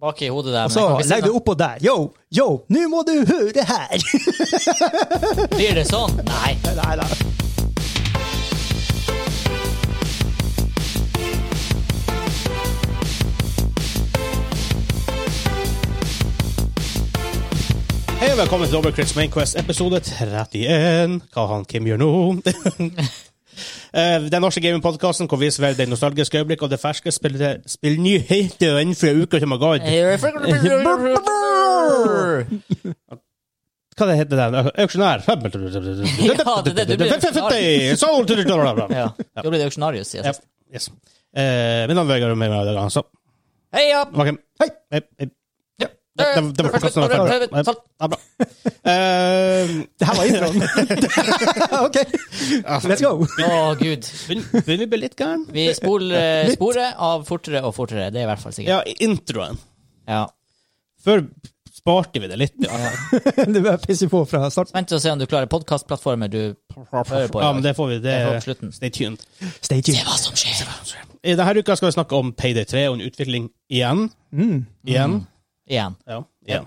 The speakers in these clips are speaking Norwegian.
bak i hodet der. Og så men jeg kan ikke si legger du noe. oppå der. Yo, yo, nå må du høre her! Blir det sånn? Nei. Nei da. Hei og velkommen til Overcrits Mainquest episode 31. Hva han Kim gjør nå? Eh, Den norske gamingpodkasten hvor vi serverer det nostalgiske øyeblikk og det ferske spill- spillnyhetene fra uka som har gått. Ja, Hva det heter den? Auksjonær? det, det, det blir auksjonarius. Sold to the dollar. Ja. Det blir det auksjonarius, sier Ja, jeg. Yes. Eh, Mitt navn er Vegard og med meg i dag, altså. Heia! Ok. Hei! Hei, hei. Ja. Det, det, det var på plassen. Prøv, prøv, prøv, Ja, salt. bra. Eh, Det her var introen. OK, let's go. Å, gud. Begynner begynner å bli litt gæren. Vi spoler sporet av fortere og fortere. Det er i hvert fall sikkert. Ja, introen. Ja. Før sparte vi det litt. Ja, Du bør pisse på fra starten. Vent og se om du klarer podkastplattformer du hører på. i ja dag. men det får vi. Det er på Det, slutten. stay tuned. Stay Se tuned. hva som skjer. I denne uka skal vi snakke om Payday 3 og en utvikling igjen. Igjen. Igjen. Mm. Ja, igjen.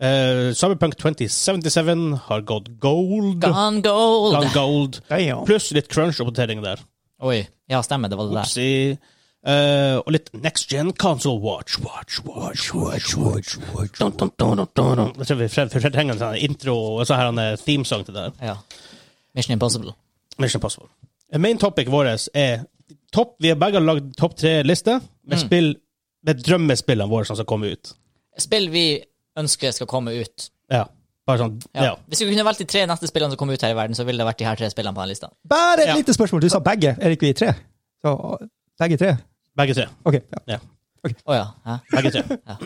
Eh, Cyberpunk 2077 har gått gold. Gone gold! Gone gold. Damn. Pluss litt crunch-oppdatering der. Oi. Ja, stemmer. Det var det der. Upsi. Eh, og litt next gen console watch, watch, watch, watch, watch, watch. Dun, dun, dun, dun, dun, dun. Jeg tror vi fre- fre- trenger en sånn intro og så her en themesang til det. her. Ja. Mission Impossible. Mission Impossible. Main topic vår er topp, Vi har begge lagd topp tre-liste med Mm. spill med drømmespillene våre som skal komme ut. Spill vi ønsker skal komme ut. Ja. Bare sånn, Ja. ja. Hvis vi kunne valgt de tre neste spillene som kommer ut her i verden, så ville det vært de her tre spillene på den lista. Bare et Ja. lite spørsmål. Du sa begge, er det ikke vi tre? Så, begge tre? Begge tre. OK. Ja. Ja. Å ja. Hæ? Begge tre. Ja.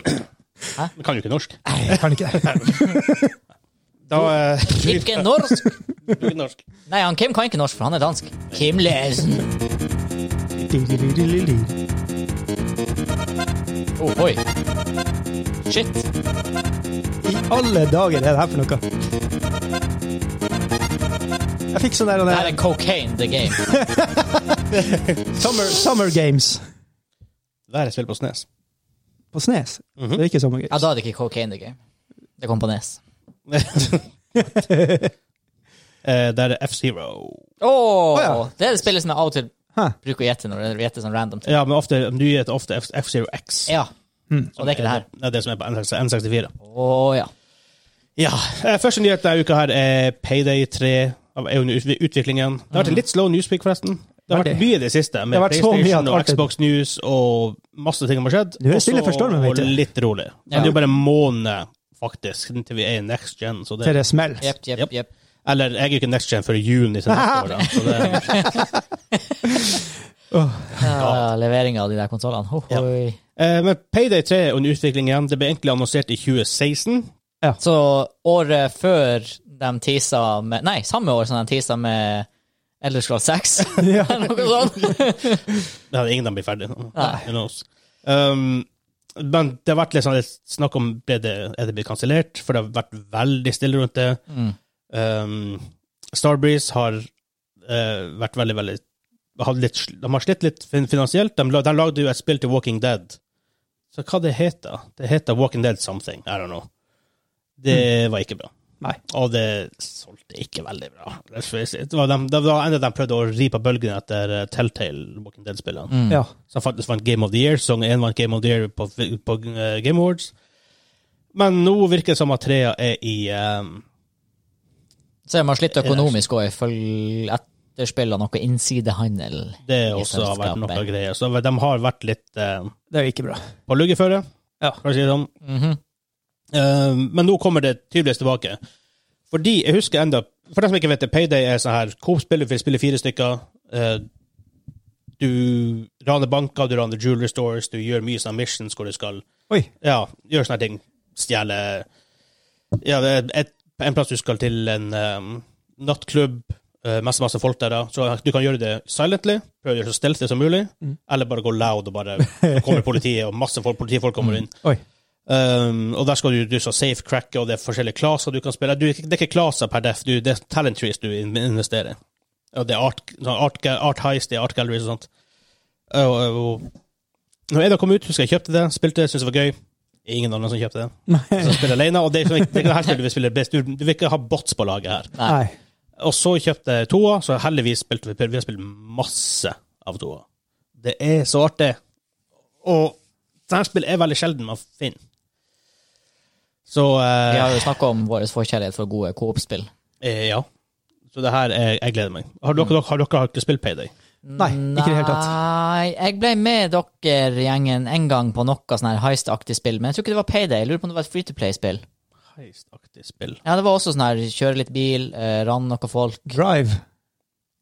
Hæ? Vi kan jo ikke norsk. Jeg kan ikke det. Da eh, Ikke norsk! kan vi ikke norsk. Nei, han Kim kan ikke norsk, for han er dansk. Kim Lesen. Oh, oi. Shit. I alle dager er det her for noe. Jeg fikk sånn der Det der- her er cocaine, the game. summer, summer Games Været spiller på Snes. på Snes. Det er ikke Summer Games. Ja, da er det ikke cocaine, the game. Det kom på E nes. Eh, Der er F-Zero. Å! ja. Det er det spillet som jeg av og til Hæ? bruker å gjette når jeg gjetter sånn random. ting. Ja, men ofte, du gir et ofte F- F-Zero X. Ja. Og det er ikke det her. Det er det som er på N64. Å ja. Ja. eh, Første nyhet denne uka her er Payday 3. av- Er under ut- utviklingen. Det har vært en litt slow newspeak, forresten. Det har Veldig. vært mye i det siste, med Mm. Det har vært så mye at PlayStation og alt er- Xbox News og masse ting som har skjedd. Du er stille for stormen, vet og du. litt rolig. Men Ja. det er jo bare en måned, faktisk, til vi er i next gen. Så Til det, det smeller. Jepp, jepp, Jepp. jepp. eller jeg er jo ikke next gen før i juni til neste år, da. Så det, Ja, Leveringa av de der konsollene. Ho, Ja. hoi. Eh, men Payday 3 er under utvikling igjen. Det ble egentlig annonsert i 2016. Så året før de tisa med Nei, samme år som de tisa med Elders Scrolls 6. Ja. Eller noe sånt. Det hadde ingen av dem blitt ferdig. Nei. Who knows? Um, men det har vært litt sånn litt snakk om ble det, er det blitt kansellert, for det har vært veldig stille rundt det. Um, Starbreeze har eh, vært veldig, veldig hadde litt, sl- De har slitt litt fin- finansielt. De, la- de lagde jo et spill til Walking Dead. Så hva det heter det? heter Walking Dead Something. I don't know. Det var ikke bra. Nei. Og det solgte ikke veldig bra. Let's face it. Det var, de, det var enda de prøvde å ri på bølgen etter eh, Telltale Walking Dead-spillene. Ja. Som faktisk vant Game of the Year. Song 1 vant Game of the Year på, på eh, Game Awards. Men nå virker det som at trea er i eh, Så de har Eh, slitt økonomisk òg, ifølge etterspill av noe innsidehandel. Det I også har vært noe selskapet. greier. Så de har vært litt eh, Det er jo ikke bra. på luggeføre, Ja. for å si det sånn. Eh, men nå kommer det tydeligvis tilbake. Fordi jeg husker enda For dem som ikke vet det, Payday er sånn her Coop-spill, du får spille fire stykker. eh, du raner banker, du raner jewelry stores, du gjør mye sånn missions hvor du skal Oi. Ja, gjør sånne ting. Stjele Ja, det er et, en plass du skal til en eh, nattklubb. eh, masse masse folk der, da. Så du kan gjøre det silently, prøve å gjøre det så stealthy som mulig, eller bare gå loud og bare så kommer politiet, og masse folk, politifolk kommer inn. Oi. Um, og der skal du, du skal safe cracke, og det er forskjellige klasser du kan spille. Du, det er ikke klasser per def, du, det er talent trees du in- investerer i. Og det er art, sånn art, ga- art heist, det er art galleries og sånt. Og, og, og, når jeg da kom ut, husker jeg kjøpte det, spilte det, syntes det var gøy. Ingen andre som kjøpte den. Så jeg spiller alene, og det er liksom ikke det er ikke noe helst du vil spille best. Du, du vil ikke ha bots på laget her. Nei. Nei. Og så kjøpte jeg toa, så heldigvis spilte vi, vi har spilt masse av toa. Det er så artig. Og sånne spill er veldig sjelden man finner. Så Vi eh, har jo snakka om vår forkjærlighet for gode coop-spill. eh, ja. Så det her er, Jeg gleder meg. Har dere, har dere har ikke spilt Payday? Nei, ikke i det hele tatt. Nei, jeg ble med dere gjengen en gang på noe sånn her heist-aktig spill, men jeg tror ikke det var Payday. Jeg lurer på om det var et free to play-spill. Heistaktig spill. Ja, det var også sånn her kjøre litt bil, eh, rann noen folk. Drive.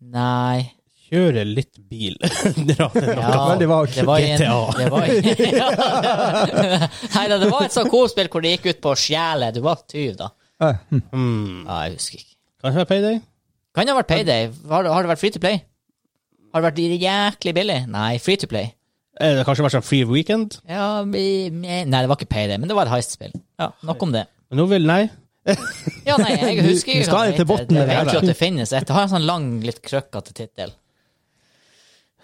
Nei. Kjøre litt bil. Dra til noe. Ja, men det var det var i en- GTA. Det var, i- ja, nei da, det var et sånt coop-spill hvor det gikk ut på å stjele. Du var tyv, da. Eh, hm. Hmm. Ja, jeg husker ikke. Kan det være Payday? Kan det ha vært Payday? Har, har det vært free to play? Har det vært jæklig billig? Nei, free to play. Eh, det har kanskje vært sånn Free Weekend? Ja, vi, vi- nei, det var ikke Payday, men det var et heist-spill. Ja, nok om det. Men nå vil Nei. Ja, nei, jeg husker Vi skal hva det til heter. botten Jeg vet av det ikke at her. det finnes et. Det har en sånn lang, litt krøkkete tittel.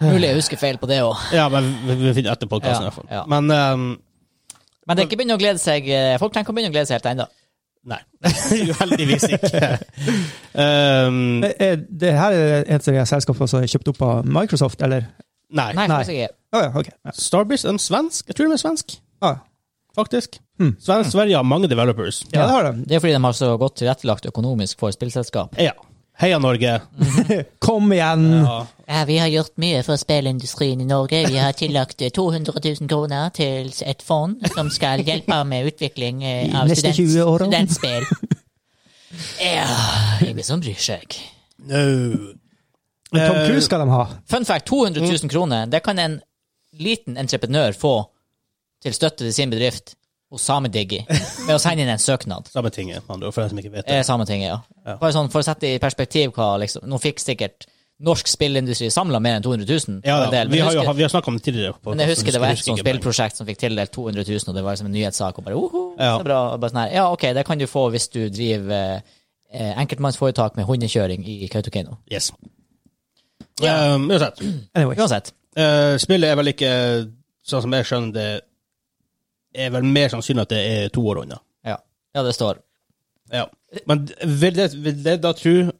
Mulig jeg husker feil på det òg. Ja, men vi, vi finner etter podkasten, Ja, i hvert fall. ja. Men ehm, Men det er ikke begynner å glede seg eh, folk trenger ikke å begynne å glede seg helt ennå. Nei. Uheldigvis ikke. Um, Det, er, Eh, det her er et av de her selskapene som er kjøpt opp av Microsoft, eller? nei. Nei, Nei. faktisk ikke. Å ja, OK. Ja. Starbreeze er en svensk. Jeg tror de er svensk, Ah, faktisk. Hmm. Sven, Sverige har mange developers. ja, det har de. Det er fordi de har så godt tilrettelagt økonomisk for spillselskap. Ja. Heia Norge. Hmm. Kom igjen! Ja. Ja, vi har gjort mye for spillindustrien i Norge. Vi har tillagt eh, 200 000 kroner til et fond som skal hjelpe med utvikling eh, De av neste student, 20 årene. studentspill. Ja, ingen som bryr seg. No. Men Eh, Tom Cruise skal de ha. Fun fact, 200 000 Mm. kroner, det kan en liten entreprenør få til støtte til sin bedrift hos Samediggi ved å sende inn en søknad. Sametinget, med andre ord, for den som ikke vet Eh, det. Sametinget, ja. Ja. Bare sånn for å sette i perspektiv hva liksom Nå fikk sikkert norsk spillindustri samla mer enn 200 000. Ja, en da. del, men Vi har jeg jo husker- vi har snakka om det tidligere. På, men jeg husker det var et husker sånt ikke poenget. spillprosjekt som fikk tildelt 200 000, og det var liksom en nyhetssak. Og bare, «Oho, Ja. så bra. Og bare sånn her, ja, ok, det kan du få hvis du driver eh, eh, enkeltmannsforetak med hundekjøring i Kautokeino. Yes. Ja. Um, uansett. Anyway. Uansett. Eh, spillet er vel ikke Sånn som jeg skjønner det, er vel mer sannsynlig at det er to år unna. Ja. ja, det står. Ja. Men vil det, vil det da tro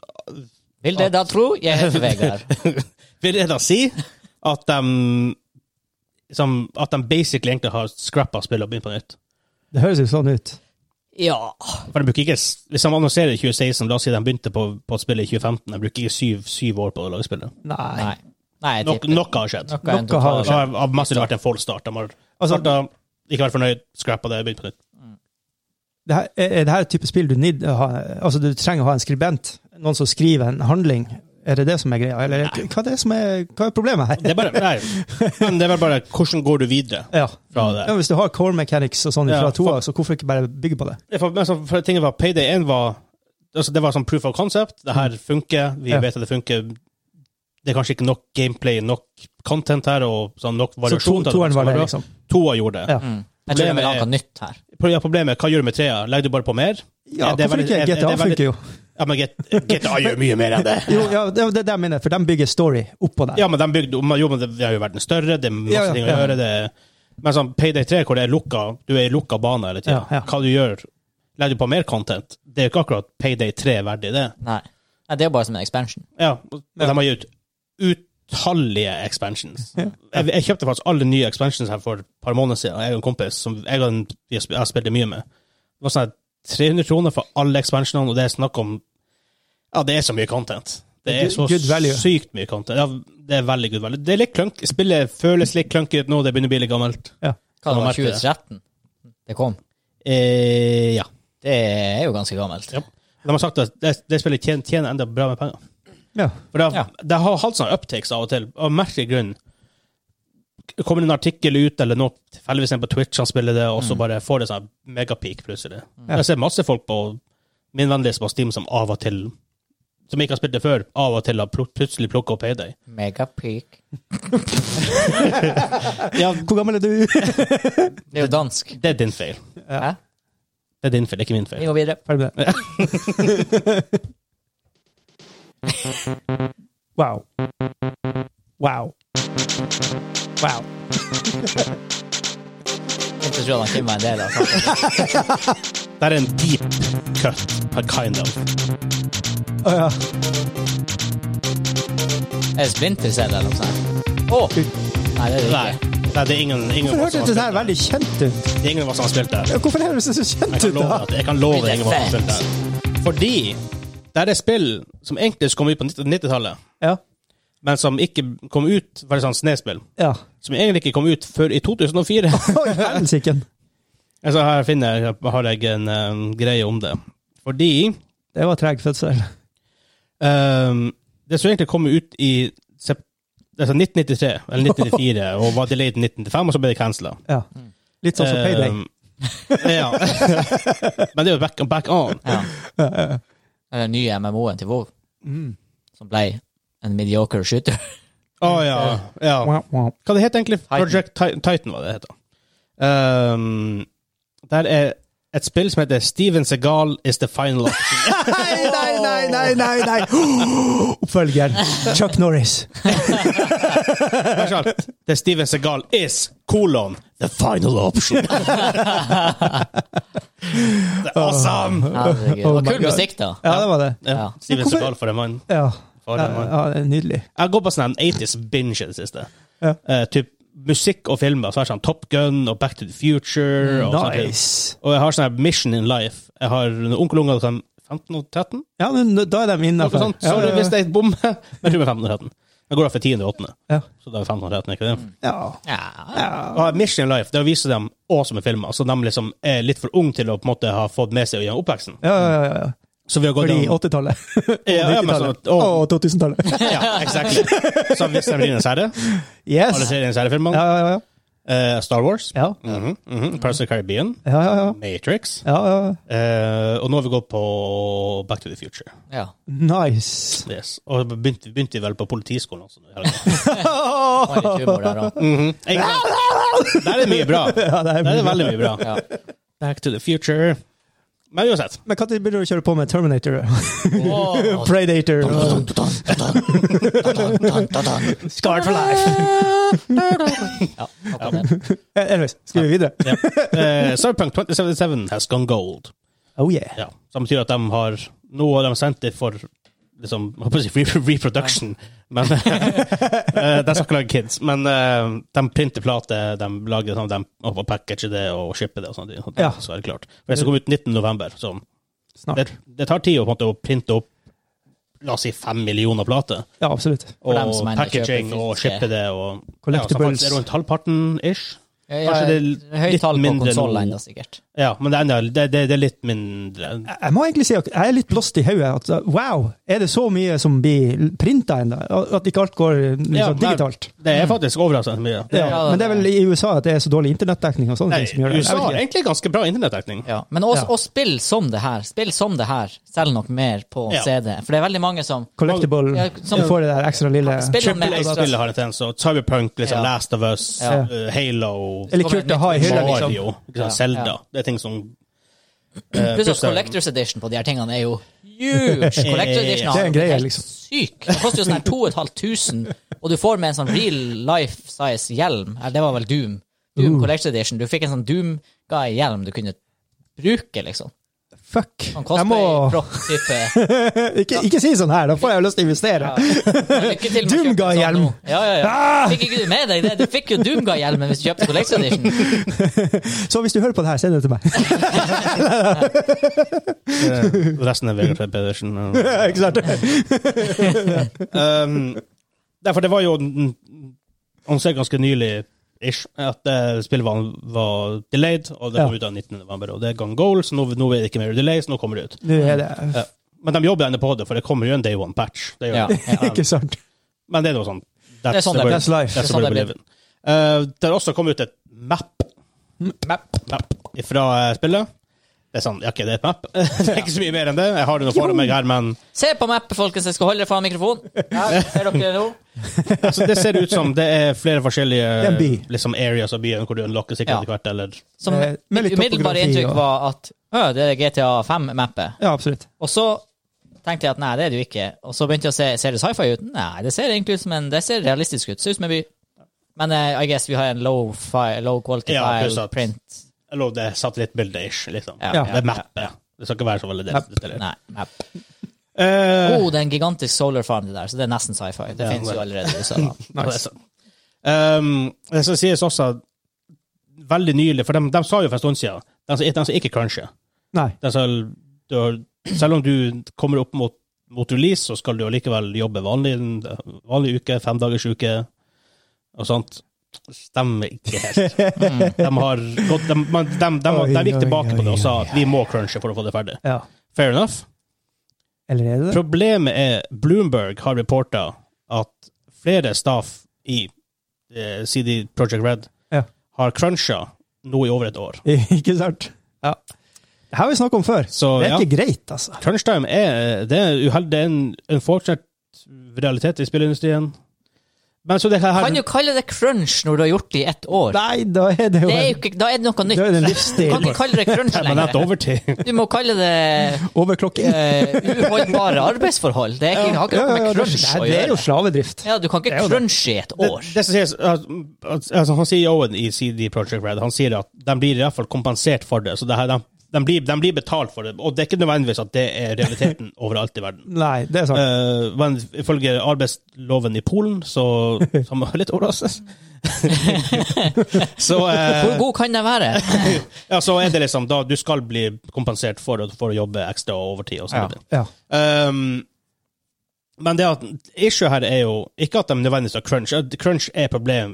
Vil det da tro? Jeg heter Vegard. Vil jeg da si at de som, At de basically egentlig har scrappa spillet og begynt på nytt? Det høres jo sånn ut. Ja. For de bruker ikke, s- Hvis de annonserer i 2016, la oss si de begynte på, på spillet i 2015, de bruker ikke syv, syv år på å lage spillet. Nei. Nei. Nei, jeg Nok, tipper noe har skjedd. Noe er en Noe har total Det har har mest sannsynlig vært en full start. De har startet, ikke vært fornøyd, scrappa det, begynt på nytt. Det her, er er det her et type spill du, need, å ha, altså du trenger å ha en skribent? Noen som skriver en handling? Er det det som er greia? Eller hva er, det som er, hva er problemet her? Det er bare, nei, men det er vel bare hvordan går du videre Ja. fra det? Ja, hvis du har core mechanics og sånn Ja, fra toa, så hvorfor ikke bare bygge på det? Ja, For, men så, for tingen var, Payday 1 var altså Det var sånn proof of concept. Det her funker. Vi Mm. Ja. vet at det funker. Det er kanskje ikke nok gameplay, nok content her, og sånn nok Så variasjon. to, til at toeren skal var være det, bra. liksom. Toa gjorde det. Ja. Mm. Jeg tror de vil ha Problemet er- noe nytt her. Pro- Ja. Problemet er, hva gjør du med trea? Legger du bare på mer? Ja, Er det hvorfor veldig- ikke? er- er det GTA veldig- funker jo. Ja, men Get- GTA gjør mye mer enn det. Jo, ja, det er det jeg mener, for de bygger story oppå der. Ja, men de bygde om jo, men det vi har jo verden større, det er masse Ja, ja, ting å ja. gjøre. Det, er- men sånn Payday 3, hvor det er lukka, du er i lukka bane hele Ja, tida, ja. hva du gjør Legger du på mer content? Det er jo ikke akkurat Payday 3 verdig, det. Nei. Nei, det er bare som en expansion. Ja, og og de har gitt utallige expansions. Ja. Jeg, jeg kjøpte faktisk alle nye expansions her for et par måneder siden. Jeg og en kompis som jeg, og en, vi har sp- jeg har spilt det mye med. Det var sånn her 300 kroner for alle expansionene, og det er snakk om Ja, det er så mye content. Det er Good- så good value. sykt mye content. Ja, det er veldig good value. Det er litt klunk. Spillet føles litt klunky ut nå, det begynner å bli litt gammelt. Hva det Ja, var merker det. 2013 det kom? Eh, ja. Det er jo ganske gammelt. Ja. De har sagt at det, det spillet tjener, tjener enda bra med penger. Ja. For det, har- Ja. det har hatt sånne uptakes av og til, av merkelig grunn. Kommer det en artikkel ut, eller noe tilfeldigvis en på Twitch han spiller det, og så bare får det sånn megapeak plutselig. Ja. Jeg ser masse folk på min vennlighet på Steam som av og til som ikke har spilt det før, av og til har pl plutselig plukka opp Payday. Megapeak. Ja, Hvor gammel er du? Det er jo dansk. det er din feil. Hæ? Det er din feil, ikke min Vi feil. går videre. Ferdig med det. wow. Wow. Wow. Intro. så tror jeg han Kim var en del av saken. Det er en deep cut, a kind of. Å ja. Er det Splinter Cell eller noe sånt? Å! Nei, det er det Nei, ikke. nei det er ingen, ingen Hvorfor av oss som hørtes det har spilt der veldig kjent ut? det. Det er ingen av oss som har spilt det. Ja, Hvorfor høres det så kjent Jeg kan ut? love da? at jeg kan love Blir det ingen av oss har spilt fans? det. Fordi det er et spill som egentlig skulle komme ut på 90-tallet, Ja. men som ikke kom ut, var et sånt sånn snespill, ja. som egentlig ikke kom ut før i 2004. Oi, helsiken. Altså her finner jeg, har jeg en eh, greie om det. Fordi Det var treg fødsel. Ehm, det som egentlig kom ut i sep- altså 1993, eller 1994, og var delayed 1995, og så ble det cancela. Ja. Litt sånn som Payday. ja. Men det er jo back, back on. Ja. Det er Den nye MMO-en til WoW, Mm. som ble en mediocre shooter. Å ja. ja. Wow, wow. Hva det het egentlig? Project Ti- Titan, var det det het. Um, der er et spill som heter Steven Segal is the final option. Nei, nei, nei, nei, nei, nei. Oh, Oppfølgeren. Chuck Norris. Vær så snill. Det er Steven Segal is colon the final option. det er awesome! Herregud. Det Oh var my kul God. musikk, da. Ja, det var det. Ja. Ja. Steven Hvorfor- Segal for en mann. Ja, For ja, en mann. ja det er nydelig. Jeg går på sånn en 80s binge i det siste. Ja. Eh, typ musikk og filmer. Så har jeg sånn Top Gun og Back to the Future. Og, sånne ting. Nice. og jeg har sånn her Mission in Life. Jeg har en onkelunger som er 15 og 13. Ja, men da er de Noe innafor. sånt. Sorry hvis det er et bom. Men jeg tror det er 15 og 13. Jeg går av for 10. og 8. Ja. Så da er 15 og 13, ikke det? Ja. Ja. Ja. Og Mission in Life, det viser dem awesome filmer som de liksom er litt for unge til å på en måte ha fått med seg gjennom oppveksten. Ja, ja, ja, ja. Så vi har gått Fordi gjennom- 80-tallet. Ja, ja, men sånn 90-tallet. at- å, Og 2000-tallet. Ja, exactly. Så hvis de blir en serie, alle Yes. tre er en seriefilmer. Ja, ja, ja. Eh, Star Wars. Ja, Mhm, mhm. Pirates of the Caribbean. ja, ja. ja. Matrix. ja, ja. eh, og nå har vi gått på Back to the Future. ja. Nice. Yes. Og begynte, begynte vi vel på politiskolen også. nå i helgen. Det var litt humor der òg. Mhm. Jeg- Der er mye bra. Der Ja, det er er veldig mye bra. Ja. Back to the Future. Men uansett. Men når begynner du å kjøre på med Terminator? Åh. Predator? og- Scarred for life. Ja, akkurat det. Eh, Anyways, skal vi videre? Ja. Eh, Cyberpunk 2077 has gone gold. Oh yeah. Ja. Som betyr at de har Nå har de sendt det for liksom, jeg holdt på å si re- reproduction, men eh, De skal ikke lage kids, men eh, de printer plater, de lager sånn, de og packager det og shipper det og sånt. sånt Ja. Så er det klart. For det skal komme ut 19. november, så det, Snart. det tar tid å, på en måte, å printe opp La oss si fem millioner plater, Ja, absolutt. og dem som ender packaging kjøper og fysiske- shippe det og Ja, så Collectibles. faktisk er det rundt halvparten ish. Ja, Kanskje det er litt Høyt tall på mindre konsoll nå. ennå, sikkert. Ja, men det er, enda- det, det, det er litt mindre. Jeg må egentlig si at jeg er litt blåst i hodet. At uh, wow, er det så mye som blir printa ennå? At ikke alt går uh, liksom, Ja, nei. digitalt? Det er faktisk overraskende mye. Ja, Ja, men det er vel i USA at det er så dårlig internettdekning og sånne Nei, ting som gjør det. Jeg USA vet har ikke. egentlig ganske bra internettdekning. Ja. Men også, Ja. og spill som det her. Spill som det her selger nok mer på Ja. CD. For det er veldig mange som Collectible, Ja, som- du får det der ekstra lille Spill Triple med ekstra A-spillet har en tendens, og Cyberpunk, liksom, altså- Ja. Last of Us, Ja. eh, Halo, Eller kult å ha i hylla, liksom. Mario, ikke sant, Ja, Zelda. ja. Det er ting som uh, Eh, Pluss at Collectors Edition på de her tingene er jo huge! Collectors Edition Det er har en greie, helt liksom. syk. Det koster jo sånn her 2500, og du får med en sånn real life size hjelm. Eller det var vel Doom. Doom Uh. Collectors Edition. Du fikk en sånn Doom-guy-hjelm du kunne bruke, liksom. Fuck. Sånn Jeg må cosplay-propp-type. ikke, ikke si sånn her, da får jeg jo lyst til å investere. Lykke til med å Doom kjøpe en sånn guy-hjelm. nå. Ja, ja, ja. Ah! Fikk ikke du med deg det? Du fikk jo Doomguy-hjelmen hvis du kjøpte Collectors Edition. Så hvis du hører på det her, send det til meg. eh, Resten er Vegard Fred Pedersen. eh. ikke sant? um, derfor, det var jo mm, annonsert ganske nylig ish, at eh, spillet var, var delayed, og det kom Ja. ut av 19. november, og det er gone goal, så nå, nå er det ikke mer delay, så nå kommer det ut. Nå er det Ja. Men de jobber ennå på det, for det kommer jo en day one patch. Det gjør Ja, det. ja. Ikke sant? Men det er noe sånn. That's, Det er sånn det the blir. world- That's life. That's Det er sånn the world det we live in. Eh, det har også kommet ut et map, map fra spillet. Det er sånn, ja, ok, det er et map. det er ikke så mye mer enn det. Jeg har det nå foran meg her, men Se på mappet, folkens. Jeg skal holde dere foran mikrofonen. Ja, ser dere nå? altså, det ser ut som det er flere forskjellige er en by. liksom, areas av byen hvor du unlocker sikkert Ja. etter hvert, eller Som Eh, med mitt litt umiddelbare topografi inntrykk og- var at Å, det er GTA 5-mappet. Ja, absolutt. Og så tenkte jeg at nei, det er det jo ikke. Og så begynte jeg å se Ser det sci-fi ut. Nei, det ser egentlig ut som en Det ser realistisk ut. Ser ut som en by. Men eh, I guess vi har en low, fi, low quality Ja, pluss file at- print. Eller det er satellittbildet-ish, liksom. Ja, Ja. Det er mappet. Det skal ikke være så veldig Mapp. detaljert. Nei, map. Eh, Oh, det er en gigantisk solar farm, det der, så det er nesten sci-fi. Det Ja, finnes jo vel. allerede i USA. da. ja, det er sant. Ehm, det skal sies også at veldig nylig, for de, de sa jo for en stund siden, de som- de som ikke cruncher Nei. de sa, du, har- Selv om du kommer opp mot, mot release, så skal du allikevel jobbe vanlig, vanlig uke, femdagersuke og sånt. Stemmer ikke helt. De har gått De, men de, de, de, de gikk tilbake på det og sa at vi må crunche for å få det ferdig. Ja. Fair enough. Eller er det det? Problemet er Bloomberg har reporta at flere staff i eh, CD Project Red Ja. har cruncha nå i over et år. ikke sant? Ja. Det har vi snakket om før. Så Det er ja, ikke greit, altså. crunchtime er, eh, det er, uheld, det er en, en fortsatt realitet i spillindustrien. Men så det her Kan jo kalle det crunch når du har gjort det i ett år. Nei, da er det jo Det er jo en, ikke, da er det noe da nytt. er det en Du kan livsstil. ikke kalle det crunch Men det er lenger. overtid. Du må kalle det Overklokke. eh, uholdbare arbeidsforhold. Det er ikke, har ikke Ja, noe ja, ja, med det, crunch er- å det er jo gjøre. slavedrift. Ja, du kan Det ikke er jo det. crunche i et Det, år. det som sies, at- at- altså, han CEO-en i CD Project Red han sier at de blir i hvert fall kompensert for det. så det her, de, de, blir, de blir betalt for det, og det er ikke nødvendigvis at det er realiteten overalt i verden. Nei, det er sant. Eh, men ifølge arbeidsloven i Polen, så som er litt overraskende Så eh, Hvor god kan den være? ja, så er det liksom da du skal bli kompensert for, å- for å jobbe ekstra og overtid og sånn. videre. Ja. Um, men det at issue her er jo ikke at de nødvendigvis har crunch. At Crunch er et problem,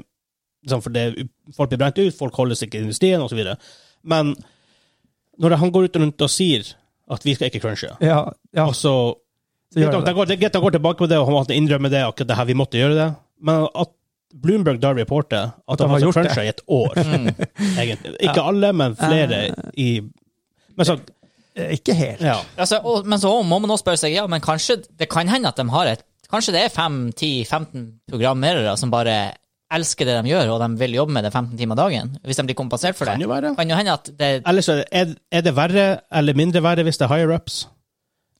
sånn, for det, folk blir brent ut, folk holder seg ikke i industrien osv. Men når han går ut rundt og sier at vi skal ikke crunche, Ja, ja. og så Så gjør Greit nok, det. de går, det er greit de går tilbake på det og han innrømmer det, akkurat det her, vi måtte gjøre det. Men at Bloomberg da reporter at, de de har har gjort det. cruncha i et år, Mm. egentlig. Ikke alle, men flere i Men så Eh, Ikke helt. Ja. Altså, og, men så må man også spørre seg, ja, men kanskje det kan hende at de har et Kanskje det er 5-10-15 programmerere som bare elsker det de gjør, og de vil jobbe med det 15 timer dagen. Hvis de blir kompensert for det. Kan jo være. Kan jo hende at det Eller så er, det- er det verre eller mindre verre hvis det er higher-ups.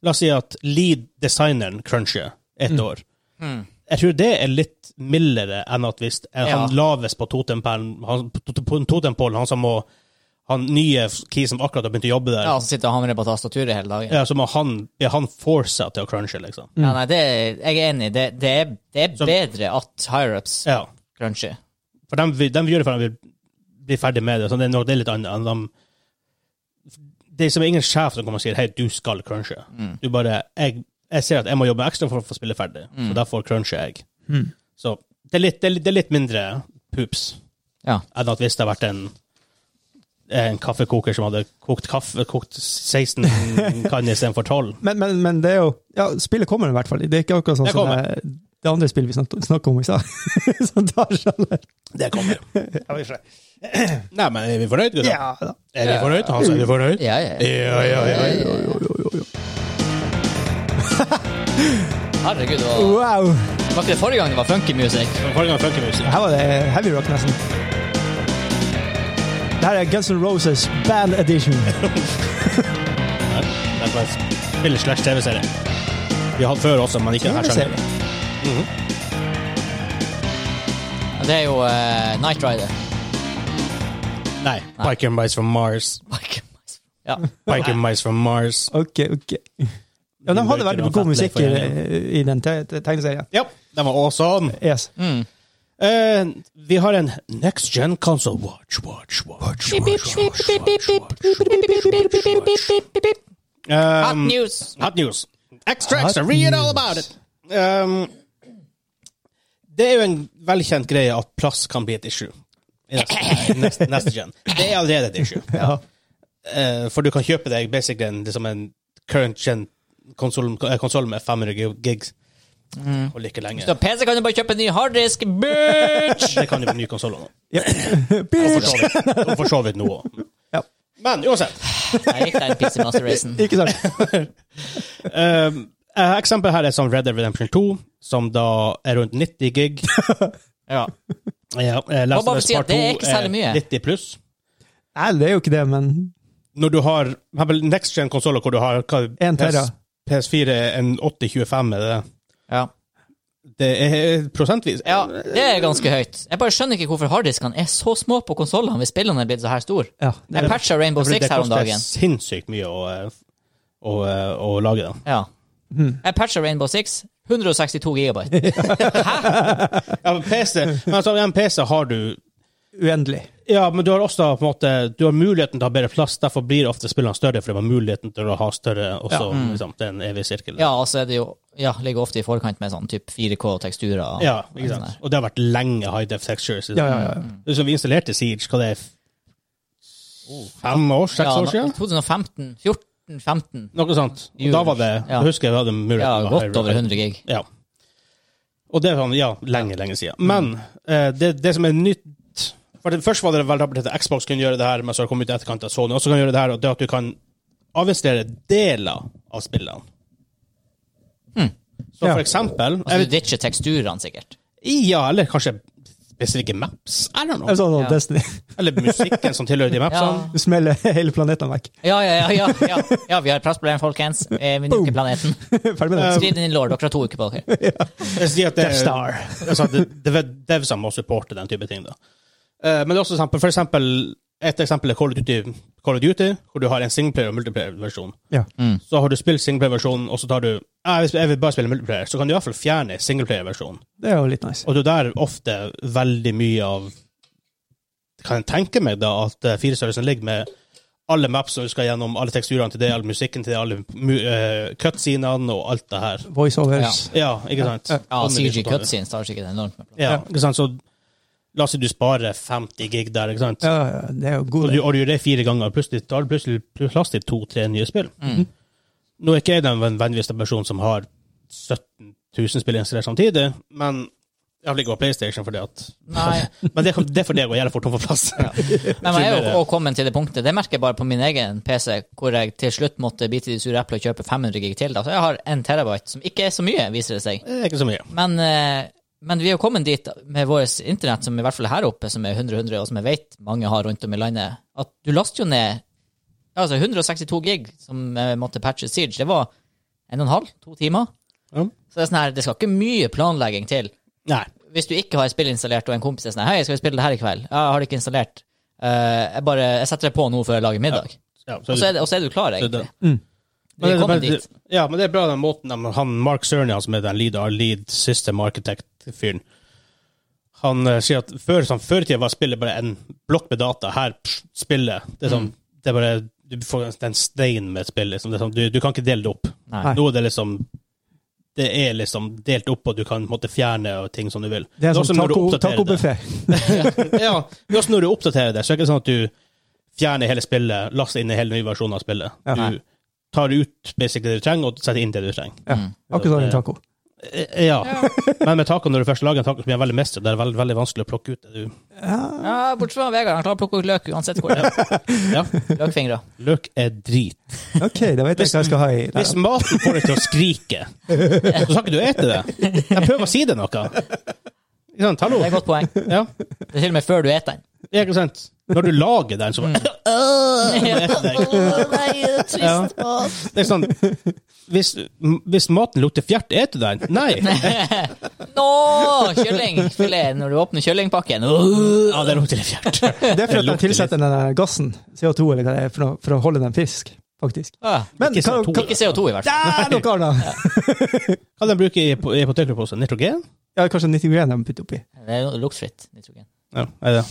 La oss si at lead-designeren cruncher et Mm. år. Jeg tror det er litt mildere enn at hvis eh, Ja. han laves på totempælen, han, på totempålen, han som må Han nye key som akkurat har begynt å jobbe der, Ja, som sitter og hamrer på tastaturet hele dagen. ja, så må han, blir han forsa til å crunche, liksom. Ja, nei, det, jeg er enig. Det, det, er, det er Så- bedre at higher-ups Ja. cruncher. For de, vil- de gjør det for at de vil bli ferdig med det. Så det er noe det er litt annet enn de Det er som ingen sjef som kommer og sier 'hei, du skal crunche'. Du bare jeg, 'Jeg ser at jeg må jobbe ekstra for å få spille ferdig, så derfor cruncher jeg'. Mm. Så det er, litt, det, er litt, det er litt mindre poops Ja. enn at hvis det hadde vært en en kaffekoker som hadde kokt kaffe, kokt 16 kanner istedenfor 12. Men, men, men det er jo Ja, spillet kommer i hvert fall. Det er ikke akkurat sånn Det som kommer. det, det andre spillet vi snak- snakket om i stad. Som tar seg Det kommer. Nei, men er vi fornøyd, gutta? Ja da. Er vi fornøyd? Hans, er vi fornøyd? Ja, ja. Ja, ja, ja, ja. Herregud, det var, Wow! var ikke det forrige gang det var funky music? Forrige gang funker musikk. Her var det heavy rock, nesten. Det her er Guns N' Roses Band Edition. Nei, Det er bare et spill slash TV-serie. Vi har hatt før også, men ikke denne sjangeren. TV-serie. Det er jo uh, Night Rider. Nei. Pike and Mice from Mars. Ja. Pike and Mice from Mars. Ok, ok. Ja, de hadde veldig god musikk i, i den te- te- tegneserien. Ja, den var awesome. Yes. Mm. Eh, vi har en Next Gen Console Watch, watch, watch. watch, watch, watch, watch, watch. Hot Um, news! Hot news. Extra, Hot extra, read all news. about it. Um, det er jo en velkjent greie at plass kan bli et issue. I neste, i neste, neste gen. Det er allerede et issue. Ja. Eh, for du kan kjøpe deg basically en, liksom en current gen konsoll konsoll med 500 gi- gig. Mm. Og like Så lenge. PC kan du bare kjøpe en ny harddisk, bitch! Det kan jo på nye konsoller nå. Ja. Og for så vidt, og for så vidt nå òg. Ja. Men uansett. Jeg gikk den PC Master Racen. Ikke sant? Um, eh, eksempel her er som Red Dead Redemption 2, som da er rundt 90 gig. ja. ja eh, Last bare of Us si at Part det er 2 ikke særlig mye. 90 pluss. Nei, det er jo ikke det, men Når du har for eksempel next gen-konsoller hvor du har hva, En tera. PS, PS4 er en 8025 er det. Ja. Det er prosentvis Ja, det er ganske høyt. Jeg bare skjønner ikke hvorfor harddiskene er så små på konsollene hvis spillene er blitt så her store. Ja, det Jeg er, patcha Rainbow Fordi Six her om Det dagen. koster sinnssykt mye å, eh, å, eh, å lage den. Ja. Hmm. Jeg patcha Rainbow Six. 162 gigabyte. Ja, men PC, men altså, en PC har du uendelig. Ja, men du har også på en måte, du har muligheten til å ha bedre plass, derfor blir ofte spillene større, for de har muligheten til å ha større også. Liksom, det er en evig sirkel. Mm. Ja, og så er det jo ja, ligger ofte i forkant med sånn typ 4K-teksturer. og- Ja, ikke sant? Og det har vært lenge high def textures. Ja, ja, ja. Så vi installerte Siege, hva det er Fem år? Seks Ja, år siden? 2015. 14-15. Noe sånt. Og da var det Ja. Jeg husker jeg hadde muligheten. Ja, til å ha godt high- over 100 gig. Ja. Og det er sånn, ja, lenge, lenge siden. Men eh, det, det som er nytt for det, Først var det vel rapportert at Xbox kunne gjøre det her, men så har det kommet ut i etterkant at Sony også kan gjøre det her, og det at du kan avinstallere deler av spillene. Så Ja. for eksempel Hmm. Altså, du ditcher teksturene, sikkert. Ja, eller kanskje spesifikke maps? I don't Det er know. sånn som Ja. Destiny. Eller musikken som tilhører de mapsene. Du smeller hele planeten vekk. Ja, ja, ja. ja, ja. ja vi har et plassproblem, folkens. Eh, Vi nuker planeten. Ferdig med det. Eh, Skriv det inn i lår. Dere har to uker på dere. Jeg sier at det, Death Star. altså, det, det er devsene må supporte den type ting. da. Eh, men det er også eksempel, for eksempel, et eksempel er Call of Duty, Call of Duty hvor du har en singleplayer- og multiplayer-versjon. Ja. Så har du spilt singleplayer-versjonen, og så tar du «Ah, hvis jeg vil bare spille multiplayer, så kan du i hvert fall fjerne singleplayer-versjonen. Det er jo litt nice. Og det er der ofte veldig mye av Kan jeg tenke meg da at eh, firestørrelsen ligger med alle maps som du skal gjennom, alle teksturene til det, all musikken til det, alle mu- eh, cutscenene og alt det her. Voiceovers. Ja, ikke sant? liksom Ja, Alle CG horisontale. cutscenes tar sikkert enormt med plass. Ja, ikke sant? Så la oss si du sparer 50 gig der, ikke sant? Ja, ja, det er jo Og god. du, og du gjør det fire ganger, plutselig tar du plutselig plass til to-tre nye spill. Mm. Mm. Nå er ikke jeg den vennligste personen som har 17 000 spill installert samtidig, men jeg vil ikke ha PlayStation for det at Nei, Men det, det er fordi jeg går jævlig fort tom for plass. Nei, men jeg er jo også kommet til det punktet. Det merker jeg bare på min egen PC, hvor jeg til slutt måtte bite i det sure eplet og kjøpe 500 gig til. Da. Så jeg har en terabyte, som ikke er så mye, viser det seg. Det er ikke så mye. Men, eh, men vi er jo kommet dit med vårt internett, som i hvert fall her oppe, som er 100-100, og som jeg vet mange har rundt om i landet, at du laster jo ned ja, altså 162 gig, som jeg måtte patche Siege. Det var en og en halv, to timer. Ja. Så det, er sånn her, det skal ikke mye planlegging til Nei. hvis du ikke har et spill installert, og en kompis er sånn Hei, skal vi spille det her i kveld? Ja, jeg har det ikke installert. Eh, jeg bare jeg setter det på nå før jeg lager middag. Ja, så Og så er, det- og så er du klar, det- egentlig. Mm. Vi Men det- kommer men det- dit. Ja, men det er bra den måten de, han Mark Cernia, som er den lead, our lead system architect-fyren Han eh, sier at før, sånn, før i tida var spillet bare en blokk med data. Her, pff, spillet. Det er Mm. sånn, det er bare Du får en- en stein med et spill. Liksom. Det er sånn, du, du kan ikke dele det opp. Nei. Nå er det liksom det er liksom delt opp, og du kan på en måte fjerne og ting som du vil. Det er også som når du taco- oppdaterer det tacobuffé. ja, men også når du oppdaterer det, så er det ikke sånn at du fjerner hele spillet, laster inn en hel ny versjon av spillet. Ja. Du tar ut basically det du trenger, og setter inn det du trenger. Ja. Akkurat som en taco. Eh, Ja. Men med taco, når du først lager en taco som blir veldig mestret, det er veldig, veldig vanskelig å plukke ut det du Ja, bortsett fra Vegard. Han klarer å plukke ut løk uansett hvor. det er. Ja, Løkfingre. løk er drit. Ok, da vet jeg hva jeg skal ha i. Nei, Hvis maten får deg til å skrike, så skal ikke du ete det. Jeg prøver å si det noe. Ikke sant? Hallo? Det er et godt poeng. Det Ja, er til og med før du spiser den. Ja, ikke sant? Når du lager den, så bare Ja. Det er sånn Hvis, hvis maten lukter fjert, eter du den? Nei. Nå! Kyllingfilet når du åpner kyllingpakken. Åh! Ja, det lukter litt fjert. Det er for at de lukter tilsetter den der gassen, CO2 eller hva det er, for å, for å holde den frisk, faktisk. Ah, Men Ikke hva, CO2. hva, Ikke CO2, i hvert fall. Ah, noe annet! Hva de bruker i, i potetgullpose? Nitrogen? Ja, kanskje 90 gram de putter oppi. Det er luktfritt nitrogen. Ja, er det.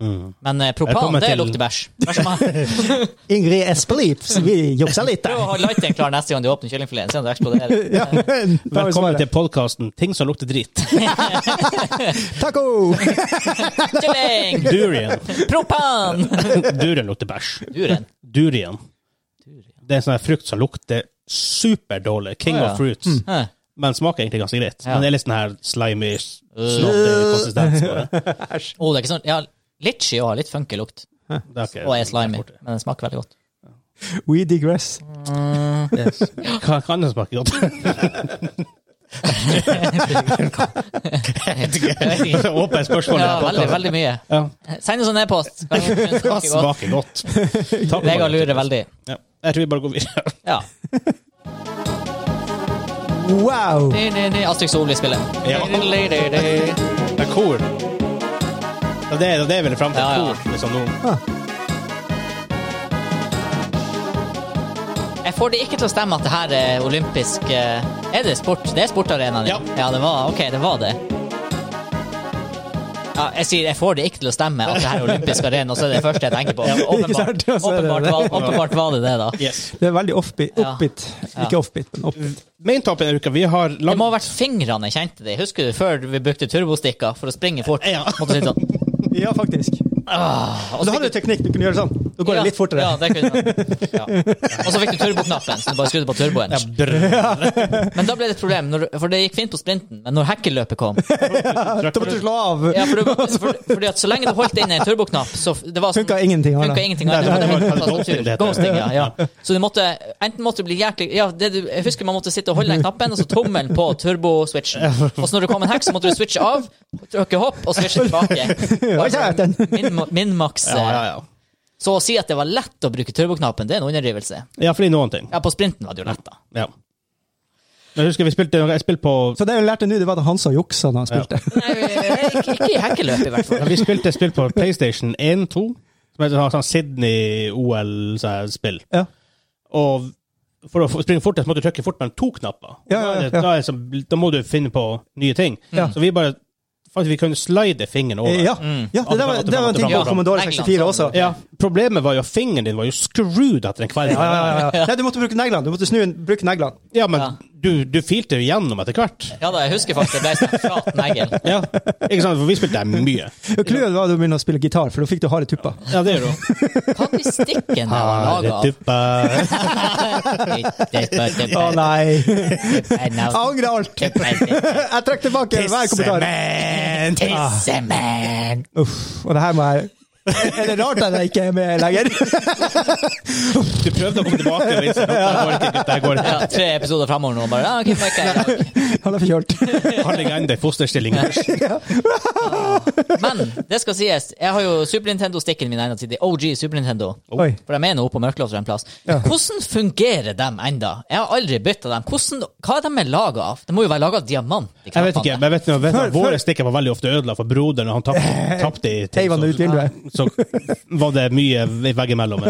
Mm. Men eh, propan, Velkommen det til- lukter bæsj. Vær så snill. Ingrid Espelid, vi jukser litt Prøv å ha lighteren klar neste gang du åpner kyllingfileten, se om det eksploderer. Ja, men, da har vi Velkommen svaret. til podkasten 'Ting som lukter drit'. Taco! Kylling! Durian. Propan! Durian lukter bæsj. Duren. Durian. Det er en sånn her frukt som lukter superdårlig. Å, King ja. of fruits. Hæ. Men smaker egentlig ganske greit. Ja. Øh. Men det er litt sånn her slimy, snoddig konsistens på det. Å, det er ikke sånn Ja, litchi og har litt funky lukt. det er ikke- Og er slimy. Men den smaker veldig godt. We digress. Yes. Kan, kan det smake godt? Åpent spørsmål. Ja, i podcasten. veldig, veldig mye. Ja. Send oss en e-post. Kan du- den Hva smaker godt. smaker godt? Takk for Vegard det. lurer veldig. Ja. Jeg tror vi bare går videre. Ja. Wow! Di, di, di. Astrid Solli spiller. Ja. Di, di, di, di. Det er kor. Ja, det, er- det er vel fram til Ja, ja. kor, liksom nå. Ah, Jeg får det ikke til å stemme at det her er olympisk eh, Er det sport? Det er sportarenaen, Ja. ja det var, ok, det var det. Ja, jeg sier jeg får det ikke til å stemme at det her er olympisk arena, og så er det det første jeg tenker på. Ikke Åpenbart, sant? Ja, så er det åpenbart, det. var, åpenbart var det det, da. Yes. det er veldig offbeat. Ja. offbeat. Ja. Ikke offbeat, men offbeat. Maintoppen denne uka, vi har Det lang... må ha vært fingrene jeg kjente det. Husker du før vi brukte turbostikker for å springe fort? Ja. Måtte sitte sånn. Ja, faktisk. Ah, og så Og da fikk hadde du teknikk. Du kunne gjøre sånn. Da går det litt fortere. Ja, det kunne du. Ja. Og så fikk du turboknappen, så du bare skrudde på turboen. Ja, brr. Men da ble det et problem, når, for det gikk fint på sprinten, men når hekkeløpet kom Da måtte du slå av. ja, for du, for, fordi at Så lenge du holdt inne en turboknapp, så det var sånn- Funka ingenting. Arne. funka ingenting. Nei, annet. nei, Du måtte det var- ta sånn ghosting, tur. det heter. Ghosting, ja, ja. Så du måtte, enten måtte du bli jæklig ja, det du, Jeg husker man måtte sitte og holde den knappen, og så tommelen på turboswitchen. Og så når det kom en hekk, så måtte du switche av, trykke hopp og switche tilbake. Ja, ikke jeg vet den. Min, min maks eh, Ja, ja, ja. Så å si at det var lett å bruke turboknappen, det er en underdrivelse. ja, fordi noen ting. Ja, på sprinten var det jo lett, da. Ja. Jeg husker vi spilte, jeg spilte på Så det jeg lærte nå, det var at han sa juksa da han spilte. Nei, ikke, ikke i hekkeløp, i hvert fall. Ja, Vi spilte et spill på PlayStation 1-2, som heter sånn Sydney-OL-spill. Ja. Og for å få- springe fortest måtte du trykke fort mellom to knapper. Ja, ja, ja, Da, ja. er det, da, er det som- da må du finne på nye ting. Ja. Så vi bare faktisk, vi kunne slide fingeren over. Eh, Ja, ja det, der var, det var en ting på Commodore 64 også. Ja, Problemet var jo at fingeren din var jo screwed etter en kveld. Ja, ja, ja, ja. Nei, du måtte bruke neglene. Du måtte snu, bruke neglene. Ja, men Ja. Du, du filte jo gjennom etter hvert. Ja da, jeg husker faktisk det ble sånn flat negl. Ja, ikke sant? For vi spilte der mye. Clouet var at du begynte å spille gitar, for da fikk du harde tupper. Ja, det gjør du. Hva de stikkene var laga av? Herretuppa. Å nei! Jeg angrer alt! Tissemann! Jeg trekker tilbake hver kommentar. Uff, og det her må jeg Er det rart at jeg ikke er med lenger? Du prøvde å komme tilbake. og vise, "Nå, Det går ikke, gutt, det går Ja, ikke. tre episoder framover nå, bare. Ja, ok, ok, ok. Han er forkjølt. Han ligger ennå i fosterstilling. Men det skal sies, jeg har jo Super Nintendo-stikken min ennå til de OG Super Nintendo. Oi. For de er nå oppe på Mørkloftet en plass. Ja. Hvordan fungerer de enda? Jeg har aldri bytta dem. Hvordan, hva er de laga av? Det må jo være laga av diamant? de Jeg vet knappene. ikke, men jeg vet noe, vet Før- noe. før- Våre stikker var veldig ofte ødelagt for broderen, og han tap- tapte i ting. Teivan, ut Så, vinduet. så var det mye veggimellom.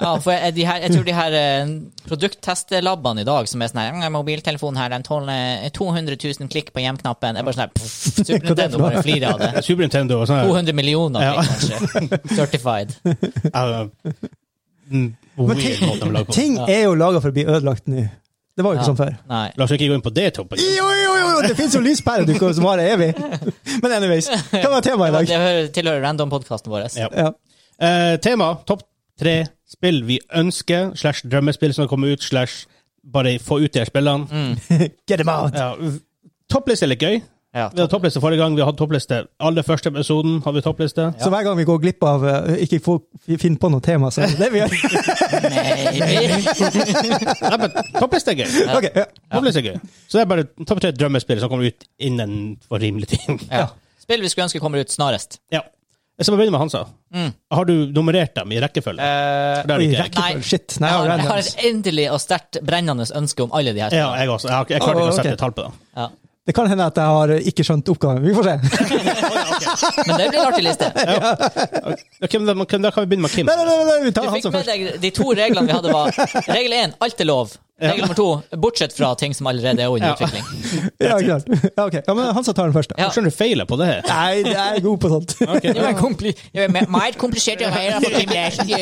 Ja, for jeg, de her, jeg tror de her eh, produkttestelabbene i dag som er sånn her «Mm, Mobiltelefonen her, den tåler eh, 200 000 klikk på hjemknappen. Jeg bare sånn her pff, Super Hva er det for Nintendo bare flirer av det. Super Nintendo og sånn. 200 millioner Ja. klikk, kanskje. Certified. her, eh, mm, Weird måte de lager på. Ting er jo laga for å bli ødelagt nå. Det var jo ikke sånn før. Nei. La oss ikke gå inn på det toppet. Jo, jo, jo! jo, Det fins jo lyspærer du kan- som varer evig. Men anyways, hva var temaet i dag? Det hører- tilhører random-podkasten vår. Ja. Ja. Eh, tema topp tre spill vi ønsker, slash drømmespill som kommer ut, slash bare få ut de her spillene. Get them out! Ja, v- toppliste er litt gøy. Ja, Vi hadde toppliste forrige gang. Vi hadde toppliste aller første episoden. hadde vi toppliste. Så hver gang vi går glipp av eh, Ikke får finne på noe tema, så er det det vi gjør. Nei. Nei, men toppliste er gøy. Ok, ja. Toppliste er gøy. Så det er bare topp tre drømmespill som kommer ut innenfor rimelig tid. Ja. Spill vi skulle ønske kommer ut snarest. Ja. Så må begynne med Hansa. Mm. Har du nummerert dem i rekkefølge? det har Oi, ikke jeg. rekke- Nei. Shit. Jeg Nei, har, jeg har randoms. et endelig og sterkt brennende ønske om alle de her. Ja, jeg også. Jeg, har ikke- jeg klarte Å, ikke å sette ok. et tall på det. Ja. Det kan hende at jeg har eh, ikke skjønt oppgaven. Vi får se. Men det blir en artig liste. Ok, men da, men da kan vi begynne med Kim. Nei, nei, nei, nei vi Du tar han fikk som med først. deg de to reglene vi hadde var Regel én, alt er lov. Regel nummer to, bortsett fra ting som allerede er under Ja. utvikling. Ja, klart. Ja, ok. ja, men han som tar den først, da. Ja. Skjønner du feiler på det her? Nei, jeg er god på sånt. Ok. Det var kompli det var me- meget komplisert å regne for Kim Larsen. De,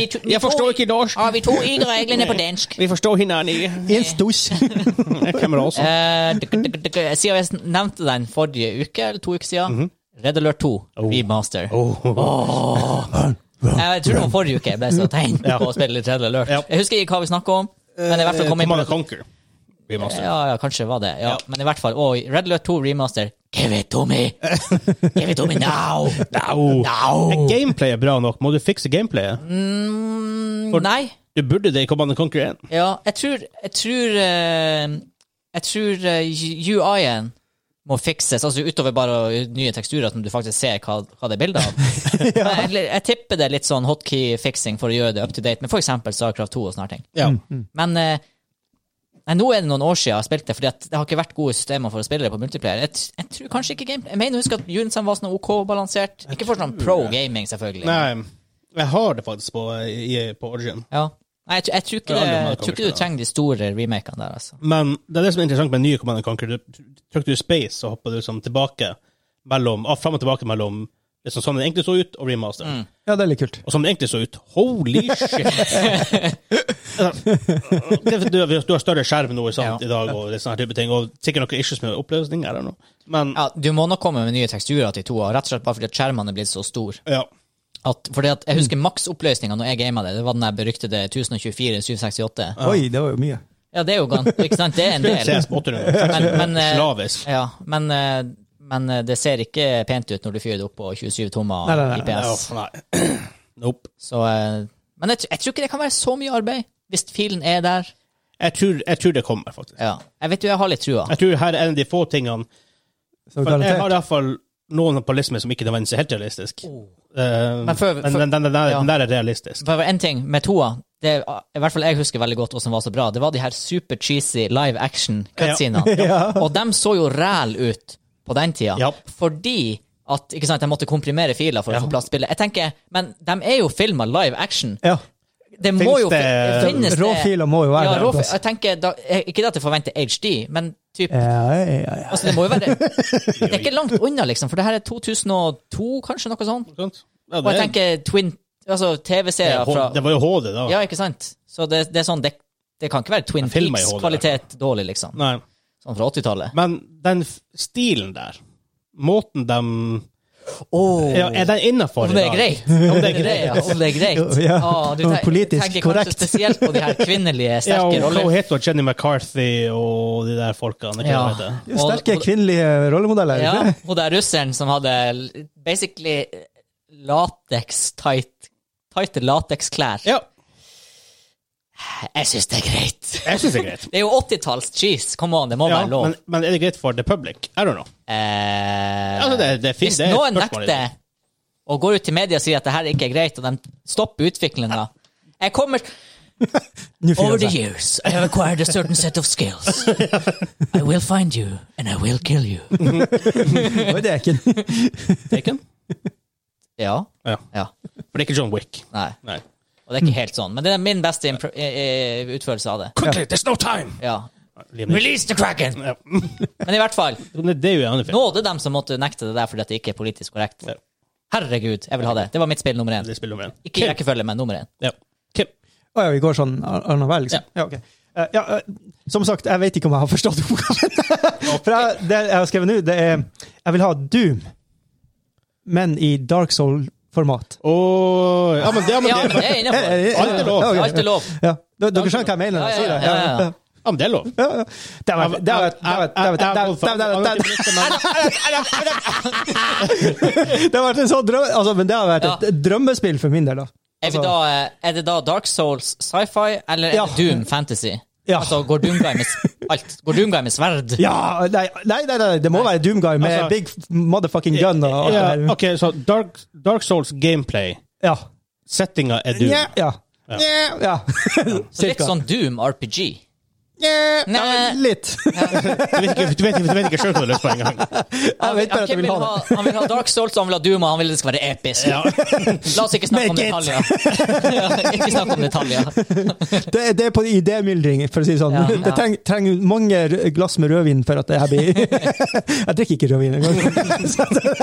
de to- de Jeg forstår to- ikke norsk. Ja, vi to ikke reglene på dansk. Vi forstår hverandre ikke. En stos. Jeg kommer også. Eh, duk- duk- duk- duk- Siden jeg sn- nevnte den forrige uke, eller to uker siden, Mhm. Red Alert 2 Oh. remaster. Jeg tror det var forrige uke jeg ble så tegn på å spille litt Red Alert. Ja. Eh, Jeg husker ikke hva vi snakket om, men i hvert fall kom inn Command på and Conquer. Remaster. Ja, ja, kanskje det var det. Ja. Men i hvert fall. Og Red Alert 2 remaster. Give it to me! Give it to me now! Au. Now! Er gameplayet bra nok? Må du fikse gameplayet? Mm, Nei. Du burde det i Command and Conquer 1. Ja, jeg tror Jeg tror, eh, jeg tror eh, UI-en må fikses, altså utover bare nye teksturer, som du faktisk ser hva, hva det er bilde av. Men jeg, jeg tipper det er litt sånn Mm. hotkey-fiksing for å gjøre det up to date, med for eksempel Starcraft 2 og sånne ting. Ja. Men eh, Nei, nå er det noen år siden jeg har spilt det, fordi at det har ikke vært gode systemer for å spille det på multiplayer. Jeg, t- jeg tror kanskje ikke game... Jeg mener å huske at Unison var sånn OK-balansert. Ikke for sånn pro gaming, selvfølgelig. Nei, jeg har det faktisk på, i, på Origin. Ja. Nei, jeg, tr- jeg tror ikke, Det er det, aldri jeg tror ikke Command du trenger de store remakene der, altså. Men det er det som er interessant med nye Command Conquer. Du trykker du space, så hopper du som tilbake mellom, ah, fram og tilbake mellom liksom sånn den egentlig så ut, og remaster. Mm. Ja, det er litt kult. Og som det egentlig så ut. Holy shit! Altså, det, du, du har større skjerm nå Ja. sant, i dag, og det er sånne type ting, og sikkert noen issues med oppløsning. I don't know. Men Ja, du må nok komme med nye teksturer til toa, rett og slett bare fordi at skjermene er blitt så store. ja. At, fordi at jeg husker Mm. maksoppløsninga når jeg gama det, det var den der beryktede 1024 768. Oi, det var jo mye. Ja, det er jo gans- ikke sant? Det er en del. CS på 800. Men, men, eh, Slavisk. ja, men, eh, men eh, det ser ikke pent ut når du fyrer det opp på 27 tommer Nei, nei, nei, nei. Ja, IPS. nei. Nope. Så, eh, men jeg, tr- jeg tror ikke det kan være så mye arbeid, hvis filen er der. Jeg tror, jeg tror det kommer, faktisk. Ja. Jeg vet jo, jeg har litt trua. Jeg tror her er en av de få tingene Så For jeg har garantert. i hvert fall noen på listen min som ikke nødvendigvis er helt realistisk. Eh, Oh. Men men for- for- den, den, den, der, ja. den der er realistisk. For en ting med toa, det er, i hvert fall jeg husker veldig godt hva som var så bra, det var de her super cheesy live action cutscenene. Og dem så jo ræl ut på den tida. Ja. Fordi at ikke sant, jeg måtte komprimere filer for Ja. å få plass til spillet. Jeg tenker, Men de er jo filma live action. Ja. Det må Finnes jo det- fi- finnes det Råfiler må jo være ja, der. altså. råfi- Jeg tenker, da, jeg- Ikke det at jeg forventer HD, men typ, Ja, ja, ja, ja. altså, det må jo være Det er ikke langt unna, liksom, for det her er 2002, kanskje, noe sånt. Sant? Ja, Og jeg det, tenker Twin Altså er- TV-serier fra det var jo HD, da. ja, ikke sant? Så det, det er sånn, det, det kan ikke være Twin Men filmer i HD. Peaks-kvalitet dårlig, liksom. Nei. Sånn fra 80-tallet. Men den f- stilen der, måten de Oh. ja, Er den innafor Om det er greit! Om det er greit! ja, Om det er greit. Ja, Ah, du tenker- politisk tenker korrekt. Kanskje spesielt på de her kvinnelige, Ja, sterke og hva roller. heter hun? Jenny McCarthy og de der folkene? Hva Ja. heter det? Det er jo Sterke kvinnelige rollemodeller. Ja, ikke det? hun der russeren som hadde l- basically latex-tight Tighte lateksklær. Ja, Jeg syns det er greit! jeg syns det er greit. Det er jo 80-talls-cheese, come on, det må Ja, være lov. men, men er det greit for the public? I don't know. Eh, Altså, det, det er fint. Hvis Det er et noen spørsmål i det. nekter og går ut til media og sier at det her ikke er greit, og de stopper utviklinga Jeg kommer Nå fyrer Over the det seg. years, I have acquired a certain set of skills. I will find you, and I will kill you. Oi, det er ikke Taken? Ja. Ja. ja. For det er ikke John Wick. Nei. Nei. Og det er ikke helt sånn. Men det er min beste impro- eh, eh, utførelse av det. Quickly, there's no time! Ja. Liam Neeson. Release the Kraken! Ja. Men i hvert fall, Men Det det er jo en annen film. nåde dem som måtte nekte det der fordi at det ikke er politisk korrekt. Ja. Herregud, jeg vil ha det. Det var mitt spill nummer én. Det spiller nummer én. Ikke i rekkefølge, men nummer én. Ja. Kim. Å ja, vi går sånn annenhver, liksom? Ja, ok. Eh, ja, eh, som sagt, jeg vet ikke om jeg har forstått oppgaven. For jeg, det jeg har skrevet nå, det er Jeg vil ha Doom, men i Dark Soul-format. Åh, ja, men det, ja, men Ja, det, men det er Eh, eh, innafor. eh, Alt er lov. ja, Altså- ok. Alt er lov. Ja. Dere dere skjønner hva jeg mener? når jeg Ja, sier ja, det? ja, ja, ja. ja, men det er lov. Ja, ja. Det var- det var- det var- det var- det var- det var- det var- det var- Det har vært en sånn drøm, altså, men det har vært et drømmespill for min del. da. Er, vi Altså- da, eh, er det da Dark Souls sci-fi, eller er Ja. det Doom fantasy? Ja. Altså, går Doomguy med, s- alt. Går Doomguy med sverd? Ja, nei, nei, nei, nei det må være Doomguy med Altså- big motherfucking gun og alt det Ja, der. ok, så Dark, Dark Souls gameplay. Ja. Settinga er du. Ja. Ja. ja. Så litt Cirka. sånn Doom RPG. Ja, Nei. Litt. Du vet ikke, du vet, du vet ikke selv hva du har lyst på engang. Jeg vet bare at jeg vil ha det. Han vil ha Dark Souls, og han vil ha Doom, og han vil det skal være episk. Ja. La oss ikke snakke om Make it. detaljer. ja, ikke snakke om detaljer. Det, er- det er på idémyldring, for å si det sånn. Ja, ja. Det treng- trenger mange r- glass med rødvin for at det her blir Jeg drikker ikke rødvin engang. Så det-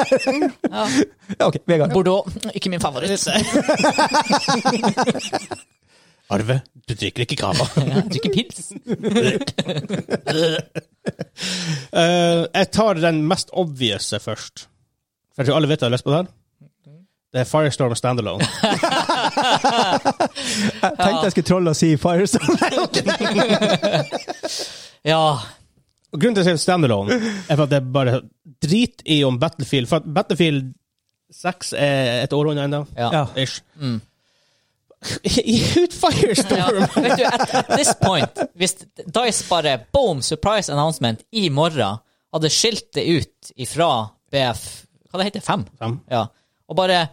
Ja, OK, Vegard. Bordeaux, ikke min favoritt. Arve, du drikker ikke kava. Ja, Drikker pils. Eh, jeg tar den mest obvious først. For jeg tror alle vet jeg har lyst på den. Det er Firestorm Standalone. Jeg tenkte jeg skulle trolle og si Firestone. Ja. Og grunnen til at jeg sier standalone, er for at det er bare drit i om Battlefield For at Battlefield 6 er et år unna ennå. ja. Ja. Ish. I ut Firestorm! Ja, vet du, at, at this point, hvis Dice bare boom, surprise announcement i morgen hadde skilt det ut ifra BF Hva det heter 5? Fem. Ja. Og bare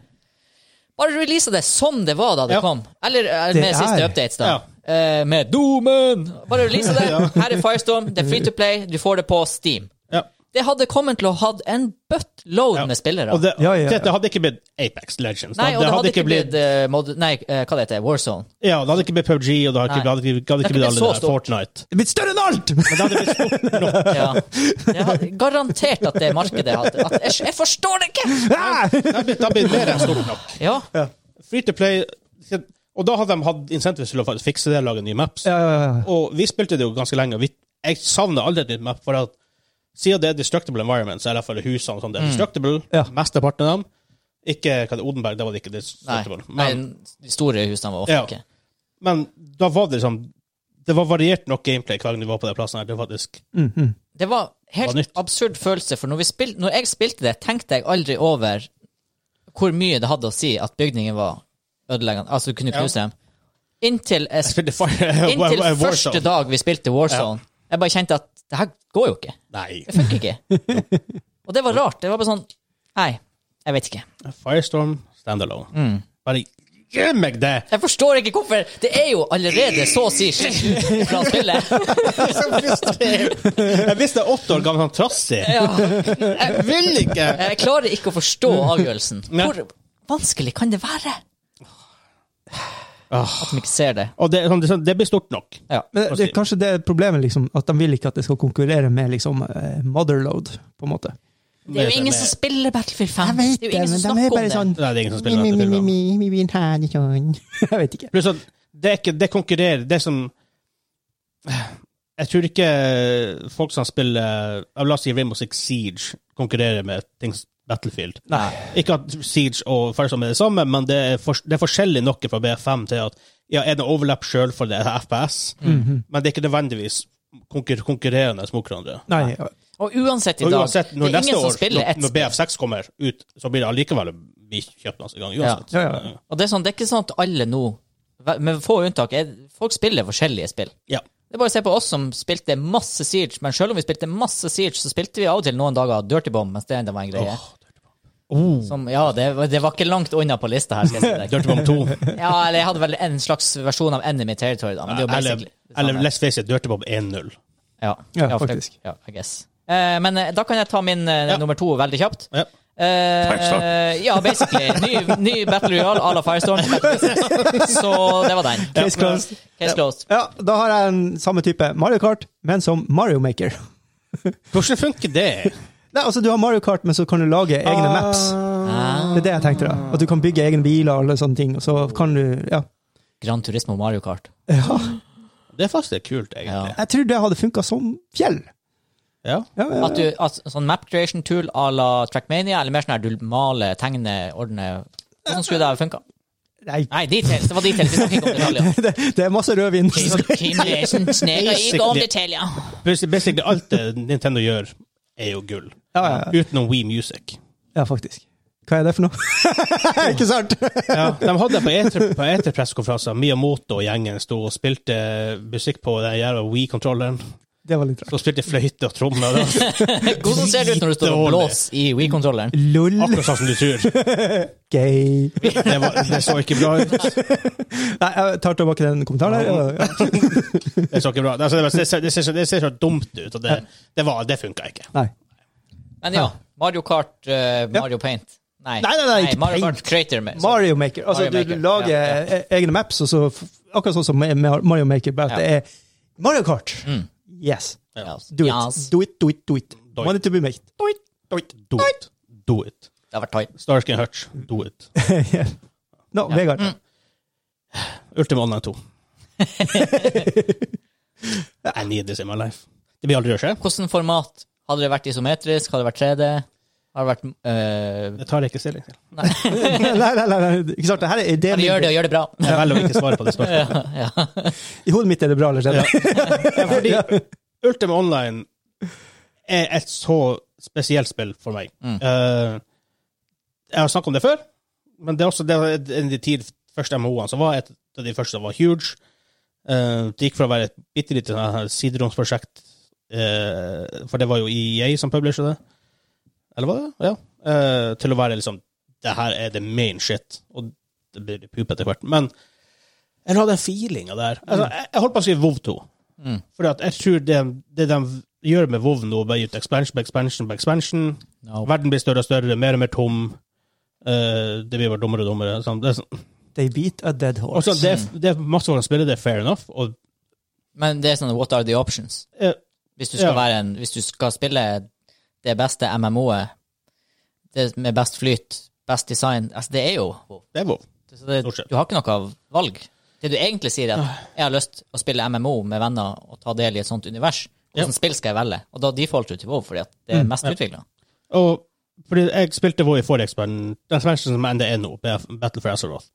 bare release det som det var da det Ja. kom. Eller, eller Det med siste er- updates, da. Ja. eh, med Domen! Bare release det. Ja. Her er Firestorm, det er free to play, du får det på Steam. Ja. Det hadde kommet til å ha hatt en buttload Ja. med spillere. Og det, Ja, ja, ja. det hadde ikke blitt Apex Legends. nei, og det hadde, ikke blitt, eh, mod, Nei, eh, hva det heter Warzone. Ja, det hadde ikke blitt PUBG, og det hadde ikke, Nei. hadde ikke, hadde Det ikke er blitt ikke alle så de der stort. Fortnite. Det er blitt større enn alt! Men det hadde blitt stort nok. Ja. Det hadde, garantert at det markedet hadde at, jeg, jeg forstår det ikke! Ah! Det hadde blitt- det hadde blitt mer enn stort nok. Ja. Free to play Og da hadde de hatt incentives til å faktisk fikse det, lage nye maps. Ja, ja, ja. Og vi spilte det jo ganske lenge. og Vi, jeg savner aldri et nytt map, for at siden det er destructible environment, så er det i hvert fall husene som det er destructible, Ja. mesteparten av dem. Ikke hva det, Odenberg, det var det ikke Nei. destructible. nei, Men, de store husene var ofte Ja. ikke men da var det liksom Det var variert nok gameplay hver gang du var på den plassen her. Det var faktisk Mm, mm. Det var Det var helt nytt. absurd følelse, for når, vi spil, når jeg spilte det, tenkte jeg aldri over hvor mye det hadde å si at bygningen var ødeleggende. Altså, du kunne Ja. knuse dem. Inntil, jeg, Jeg sp- spilte Fire- inntil Warzone. første dag vi spilte Warzone. Jeg bare kjente at det her går jo ikke. Nei. Det funker ikke. Og det var rart. Det var bare sånn Nei, jeg vet ikke. Firestorm standalone. Bare gi meg det! Jeg forstår ikke hvorfor. Det er jo allerede så å si skitt ut fra spillet. Jeg visste jeg er åtte år gammel sånn trassig. Ja. Jeg vil ikke! Jeg klarer ikke å forstå avgjørelsen. Nei. Hvor vanskelig kan det være? Åh. At de ikke ser det. Og det, er sånn- det er sånn- det blir stort nok. Ja. Men det, det, er kanskje det er problemet, liksom, at de vil ikke at det skal konkurrere med liksom, eh, motherload, på en måte. Det er jo ingen som spiller Battlefield 5. Det er sånn, jo ingen som snakker om det. Nei, det er ingen som spiller dette filmen. vi vil ha det sånn. Jeg vet ikke. Pluss at det, er ikke, det konkurrerer Det som Jeg tror ikke folk som spiller ja, La oss si Rainbow Six Siege konkurrerer med ting som Battlefield. Nei. Ikke at Siege og Firestorm er det samme, men det er, for, det er forskjellig noe fra BF5 til at ja, er det overlapp sjøl for det er FPS, men det er ikke nødvendigvis konkur konkurrerende mot hverandre. Nei. Og uansett i sånn- Og dag, uansett, når det er neste ingen som år, spiller når, ett når BF6 kommer ut, så blir det allikevel vi kjøper den altså i gang uansett. Ja, ja, ja. Og det er, sånn, det er ikke sånn at alle nå, med få unntak, er, folk spiller forskjellige spill. Ja. Det er bare å se på oss som spilte masse Siege, men selv om vi spilte masse Siege, så spilte vi av og til noen dager Dirty Bomb, mens det enda var en greie. Som, ja, det, var- det var ikke langt unna på lista her, skal jeg si deg. Oh. Dirty Bomb 2. Ja, eller jeg hadde vel en slags versjon av Enemy Territory, da, men det er jo Eller, basically det eller samme. let's face it, Dirty Bob 1-0. Ja, Ja, for det- faktisk. Ja, I guess. Eh, men eh, da kan jeg ta min eh, Ja. nummer to veldig kjapt. Ja. Eh, Firestorm. eh, ja, basically. Ny, ny Battle Royale à la Firestorm. Så det var den. Case closed. Case closed. Ja, da har jeg en samme type Mario Kart, men som Mario Maker. Hvordan funker det? Nei, altså Du har Mario Kart, men så kan du lage egne maps. Ah. Det er det jeg tenkte. da. At du kan bygge egne biler og alle sånne ting. Og så kan du, ja. Gran Turismo Mario Kart. ja. Det er faktisk litt kult, egentlig. Jeg tror det hadde funka som fjell. Ja. Ja, ja, At du, at, sånn map creation tool à la Trackmania, eller mer sånn her du maler, tegner, ordner Hvordan skulle det ha funka? Nei, Nei, details. Det var details. Vi snakker ikke om detaljer. det, det er masse rødvin. Team Lesion sneker ikke om Basically. detaljer. Basically- Basically, alt det Nintendo gjør, er jo gull. Ja, ja, ja. Utenom Wii Music. ja, faktisk. Hva er det for noe? Ikke sant? De hadde på E3 på E3-pressekonferanser, Miyamoto og gjengen sto og spilte musikk på den jævla Wii-kontrolleren. Det var litt rart. Så spilte de fløyte og trommer. og det Hvordan ser det ut når du står og blåser i Wii-kontrolleren? Lol. var Akkurat sånn som du tror. Gay. Det, var, det så ikke bra ut. Nei, jeg tar tilbake den kommentaren. her. Ja, ja. Det så ikke bra ut. Altså, det, ser, det, ser, så- det ser så dumt ut, og det, det, var- det funka ikke. Nei. Men ja, Mario Kart, eh, Mario Paint. Nei, Nei, nei, nei, ikke Mario Paint. Kart Creator. Med, så- Mario Maker. Altså, Mario Maker, du lager ja, e- egne maps, og så f- akkurat sånn som med- med Mario Maker, bare at Ja. det er Mario Kart. Mm. Yes. Ja. altså. Do it. Yes. Do it, do it, do it. Do it. Money to be made. Do it. Do it. Do it. Do it. Det har vært tight. Starsky and Hutch, do it. Yeah. Ja. Nå, Mm. Vegard. Ultima Online 2. I need this in my life. Det blir aldri å skje. Hvordan format? Hadde det vært isometrisk? Hadde det vært 3D? Har det vært øh, Det tar jeg ikke stilling til. nei, nei, nei, nei. Ikke sant? Det her er ideen. Gjør det, og gjør det bra. Jeg velger å ikke svare på det spørsmålet. ja. I hodet mitt er det bra, eller Ja. sånn. Fordi Ultima Online er et så spesielt spill for meg. Eh, jeg har snakket om det før, men det er også det, en av de ti første MHO-ene som var et av de første som var huge. Eh, det gikk fra å være et bitte lite sånn her sideromsprosjekt, eh, for det var jo EA som publisher det, eller var det? Ja. Eh, til å være liksom, det her er the main shit, og det blir pupet etter hvert. Men Jeg hadde en feeling av det her. Altså, jeg, jeg holdt på å skrive WoW 2. Mm. Fordi at jeg tror det, det de gjør med WoW nå, bare ut expansion på expansion på expansion No. Verden blir større og større, mer og mer tom. Eh, det blir bare dummere og dummere. Sånn. Det, er sånn. They beat a dead Og horse. sånn, det, er- det er masse folk som spiller, det er fair enough. Og, Men det er sånn what are the options? eh, Hvis du skal, Ja. være en, hvis du skal spille det beste MMO-et, det med best flyt, best design altså Det er jo det er WoW. så det, Stort sett. Ah. Du har ikke noe valg. Det du egentlig sier, er at jeg har lyst å spille MMO med venner og ta del i et sånt univers. Hvilket spill skal jeg velge? Og da defaulter du til WoW, fordi at det Mm, er mest utvikla. Og fordi jeg spilte WoW i forrige expansion, den expansion som enda er nå, Battle for Azeroth.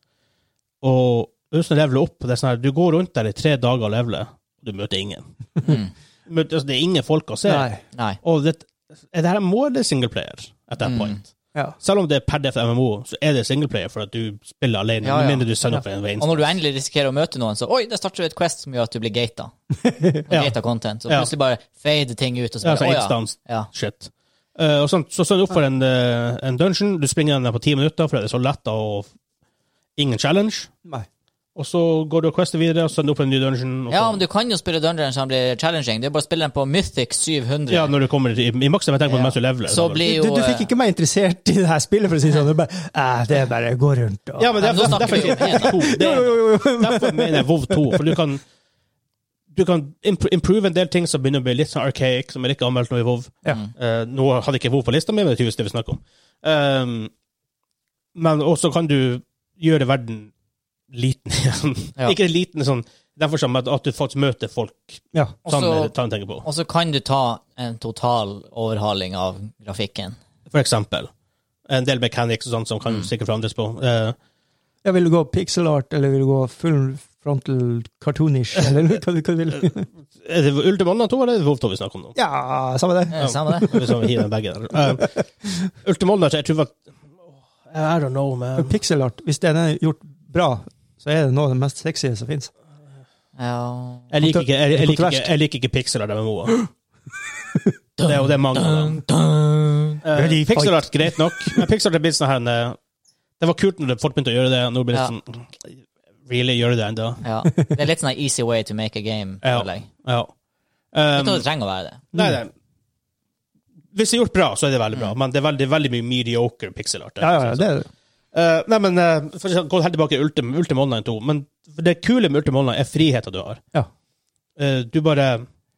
Og uten å levele opp, det er sånn her, du går rundt der i tre dager og leveler, og du møter ingen. Møter, altså, det er ingen folk å se. Nei. Nei. Og det, er det her må det singleplayer at that point. Ja. Selv om det er per def MMO, så er det singleplayer for at du spiller alene, Ja, ja. med mindre du sender opp en veien. Og når du endelig risikerer å møte noen, så oi, det starter et quest som gjør at du blir gata. Og Ja. gata content. Så Ja. plutselig bare fade ting ut, og så Ja, altså bare å instans ja. ja. shit. Eh, og sånn, så står du opp for en, eh, en dungeon, du springer den der på ti minutter, for det er så lett og ingen challenge. Nei. Og så går du og quester videre, og sender opp en ny dungeon. Og Ja, så- men du kan jo spille dungeons som blir challenging. Det er bare å spille den på Mythic 700. ja, når du kommer i, i maksen, jeg tenker på Ja. mens du leveler. så Du, blir jo du, du fikk eh, ikke meg interessert i det her spillet, for å si det sånn. Det er bare, eh, det er bare å gå rundt og Ja, men det er, Nei, men nå snakker derfor, vi om en, derfor, det Jo, er, jo, jo, jo. derfor mener jeg WoW 2, for du kan du kan impro- improve en del ting som begynner å bli litt sånn archaic, som er ikke anmeldt nå i WoW. Ja. mm. Eh, nå hadde ikke WoW på lista mi, men det er tydeligvis det vi snakker om. Um, men også kan du gjøre verden liten igjen. Ja. ikke liten sånn, derfor sånn at, at du faktisk møter folk Ja. sammen, Også- ta en tenker på. Og så kan du ta en total overhaling av grafikken. For eksempel. En del mechanics og sånt som Mm. kan sikkert forandres på. Eh, ja, vil du gå pixel art, eller vil du gå full frontal cartoonish, eller hva du, hva du vil? Er det Ultima Online 2 eller WoW 2 vi snakker om nå? Ja, samme det. Eh, Samme det. Hvis vi hiver den begge der. Eh, Ultima Online, jeg tror at I don't know, For man. pixel art, hvis den er gjort bra, så er det noe av det mest sexy som fins. Ja. Jeg liker ikke, jeg, jeg liker ikke, Kontroverst. jeg liker ikke pixel art MMO-er. Det er jo det er mange av dem. Eh, Ready, fight. pixel art, greit nok. Men pixel art er blitt sånn her eh, Det var kult når folk begynte å gjøre det, og nå blir det Ja. sånn Really, gjør det ennå? ja. Det er litt sånn en easy way to make a game. Ja. føler jeg. Ja. Uten Um, at det trenger å være det. Nei, nei. Hvis det er gjort bra, så er det Mm. veldig bra, men det er veldig, veldig mye mediocre pixel art. Ja, ja, ja, det er det. Eh, nei, men eh, for å gå helt tilbake til Ultim, Ultim Online 2, men det kule med Ultim Online er friheten du har. Ja. Eh, du bare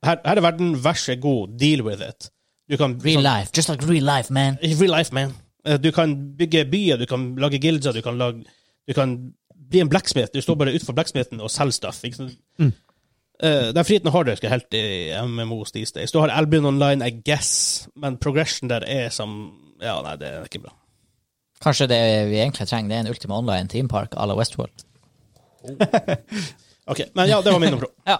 her, her er verden, vær så god, deal with it. Du kan Real life. Just like real life, man. sånn- real life, man. Eh, du kan bygge byer, du kan lage gildser, du kan lage Du kan bli en blacksmith. Du står bare utenfor blacksmithen og selger stuff. Ikke sant? Eh, den friheten har du ikke helt i MMOs these days. Du har Albion Online, I guess, men progression der er som Ja, nei, det er ikke bra. Kanskje det vi egentlig trenger, det er en Ultima Online Team Park à la Westworld. OK. Men ja, det var min oppro. Ja.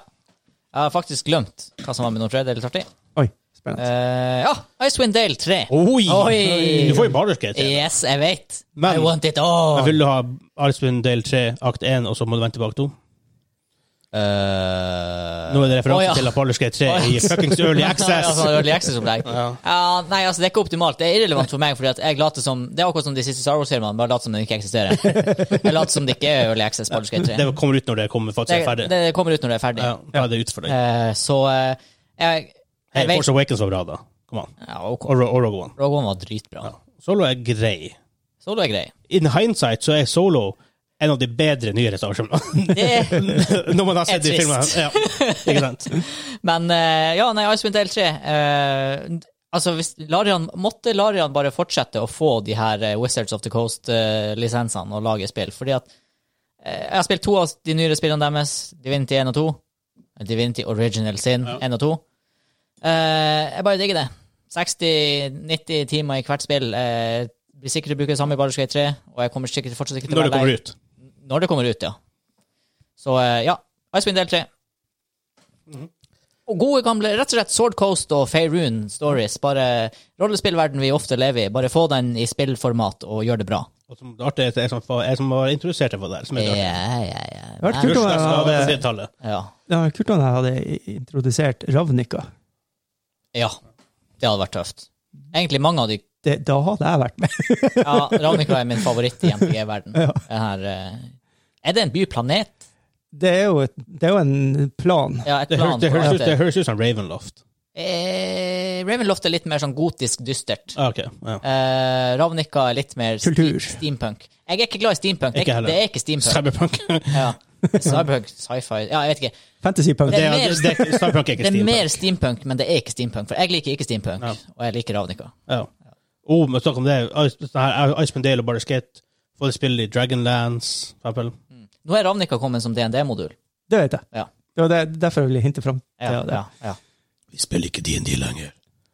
Jeg har faktisk glemt hva som var med noe tredjedelsartig. Oi, spennende. Uh, ja, Icewind Dale 3. Oi! Oi! Du får jo Baldur's Gate. igjen. Yes, jeg vet. Men- I want it all. Men Vil du ha Artsbund del 3, akt 1, og så må du vente bak 2? Eh, Nå er det referanse å, ja. til at Baldur's Gate 3 Å, ja. i fuckings Early Ja, Access. sånn early access-opplegg. Ja. Ja, nei, altså, det er ikke optimalt. Det er irrelevant for meg, fordi at jeg later som Det er akkurat som de siste Star Wars-filmene, bare later som de ikke eksisterer. Jeg later som det ikke er early access. Baldur's Gate 3. Det kommer ut når det kommer faktisk er Det, ferdig. det kommer ut når det er ferdig. Ja, ja, det er ut for deg. Eh, så eh, jeg, Hey, jeg vet Force Awakens var bra, da. Kom an. ja, ok. Og Ro- og Rogue One. Rogue One var dritbra. Ja. Solo er grei. Solo er grei. In hindsight så er Solo en av de bedre nyere Star Wars-filmene. Det er Når man har sett de Er filmene. trist. Ja, ikke sant? Men eh, ja, nei, Icewind Dale 3 eh, Altså, hvis Larian, måtte Larian bare fortsette å få de her eh, Wizards of the Coast-lisensene og lage spill? Fordi at eh, Jeg har spilt to av de nyere spillene deres, Divinity 1 og 2. eh, Divinity Original Sin 1 og 2. Eh, jeg bare digger det. 60-90 timer i hvert spill. eh, blir sikkert til å bruke det samme i Baldur's Gate 3, og jeg kommer sikkert fortsatt ikke til å Når det være lei kommer ut. når det kommer ut, ja. Så eh, ja, Icewind del 3. Mhm. Og gode gamle, rett og slett Sword Coast og Faerun stories. Bare rollespillverden vi ofte lever i. Bare få den i spillformat og gjør det bra. Og som det artige er at jeg som, var- jeg som var introdusert for det her, som er Ja, det artige. ja, ja. Det har vært Nei, kult om Rush, jeg altså, hadde, på 90-tallet. Ja. det hadde vært kult om jeg hadde introdusert Ravnica. ja. Det hadde vært tøft. Egentlig mange av de Det, da hadde jeg vært med. eh, Ja, Ravnica er min favoritt i MPG-verden. Er det en byplanet? Det er jo, et, det er jo en plan. Ja, et Det, hø plan. det, på høres ut, at- det høres ut som Ravenloft. Eh, Ravenloft er litt mer sånn gotisk dystert. Ah, ok, ja. Eh, Ravnica er litt mer ste- Kultur. steampunk. Jeg er ikke glad i steampunk. Det Ikke er ikke, heller. det er ikke steampunk. Cyberpunk. Ja. Cyberpunk, sci-fi Ja, jeg vet ikke. Fantasypunk. Det Det er er, mer- det, det, Cyberpunk er ikke Det er steampunk. mer steampunk, men det er ikke steampunk. For jeg liker ikke steampunk, Ja. og jeg liker Ravnica. Ja. Oh, men snakk om det. Ice- sånn her, Iceman Dale og Bare Skate. Få det spille i Dragonlands, for eksempel. Nå er Ravnica kommet som DND-modul. Det vet jeg. Ja. Det var det, derfor jeg ville hinte fram. Ja, Ja, det. ja, ja. Vi spiller ikke DND lenger.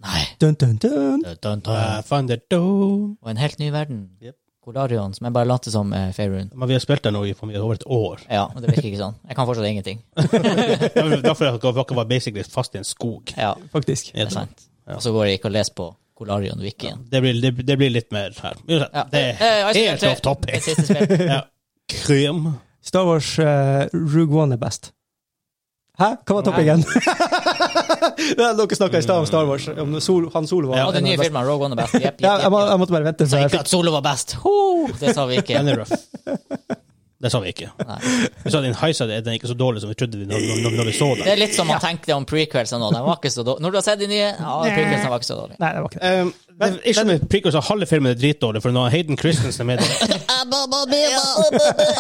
Nei. Dun, dun, dun. Dun, dun, dun. Uh, find the dome. Og en helt ny verden. Yep. Kolarion, som jeg bare later som uh, Faerun. Men vi har spilt det nå i for mye over et år. Ja, men det virker ikke sånn. Jeg kan fortsatt ingenting. Det var Derfor at dere var basically fast i en skog. Ja, Faktisk. det er sant. Og så går jeg ikke og leser på Kolarion Wikien. Det blir, det, det blir litt mer her. Ja. Det Eh, er Iceman helt tre. off topic. Det siste spillet. Ja. Krem. Star Wars eh, Rogue One er best. Hæ? Hva var toppingen? Ja, Dere snakka i stad om Star Wars. Om Sol, han Solo var Og den en nye av de beste. filmen, Rogue One er best. Jepp, jepp, Ja, jepp, jeg, må, jepp. jeg måtte bare vente. Sa For jeg ikke fikk, at Solo var best. Ho! Det sa vi ikke. Den er røff. Det sa vi ikke. Vi sa at den heisa er den ikke så dårlig som vi trodde vi når, når, når vi så Det den. er litt som man tenkte om prequelsene nå. De var ikke så dårlige. Når du har sett de nye, ja, prequelsene var ikke så dårlige. nei, det var ikke det. Um, det er ikke som med prequels, og halve filmen er dritdårlig, for når Hayden Christensen er med der Uh,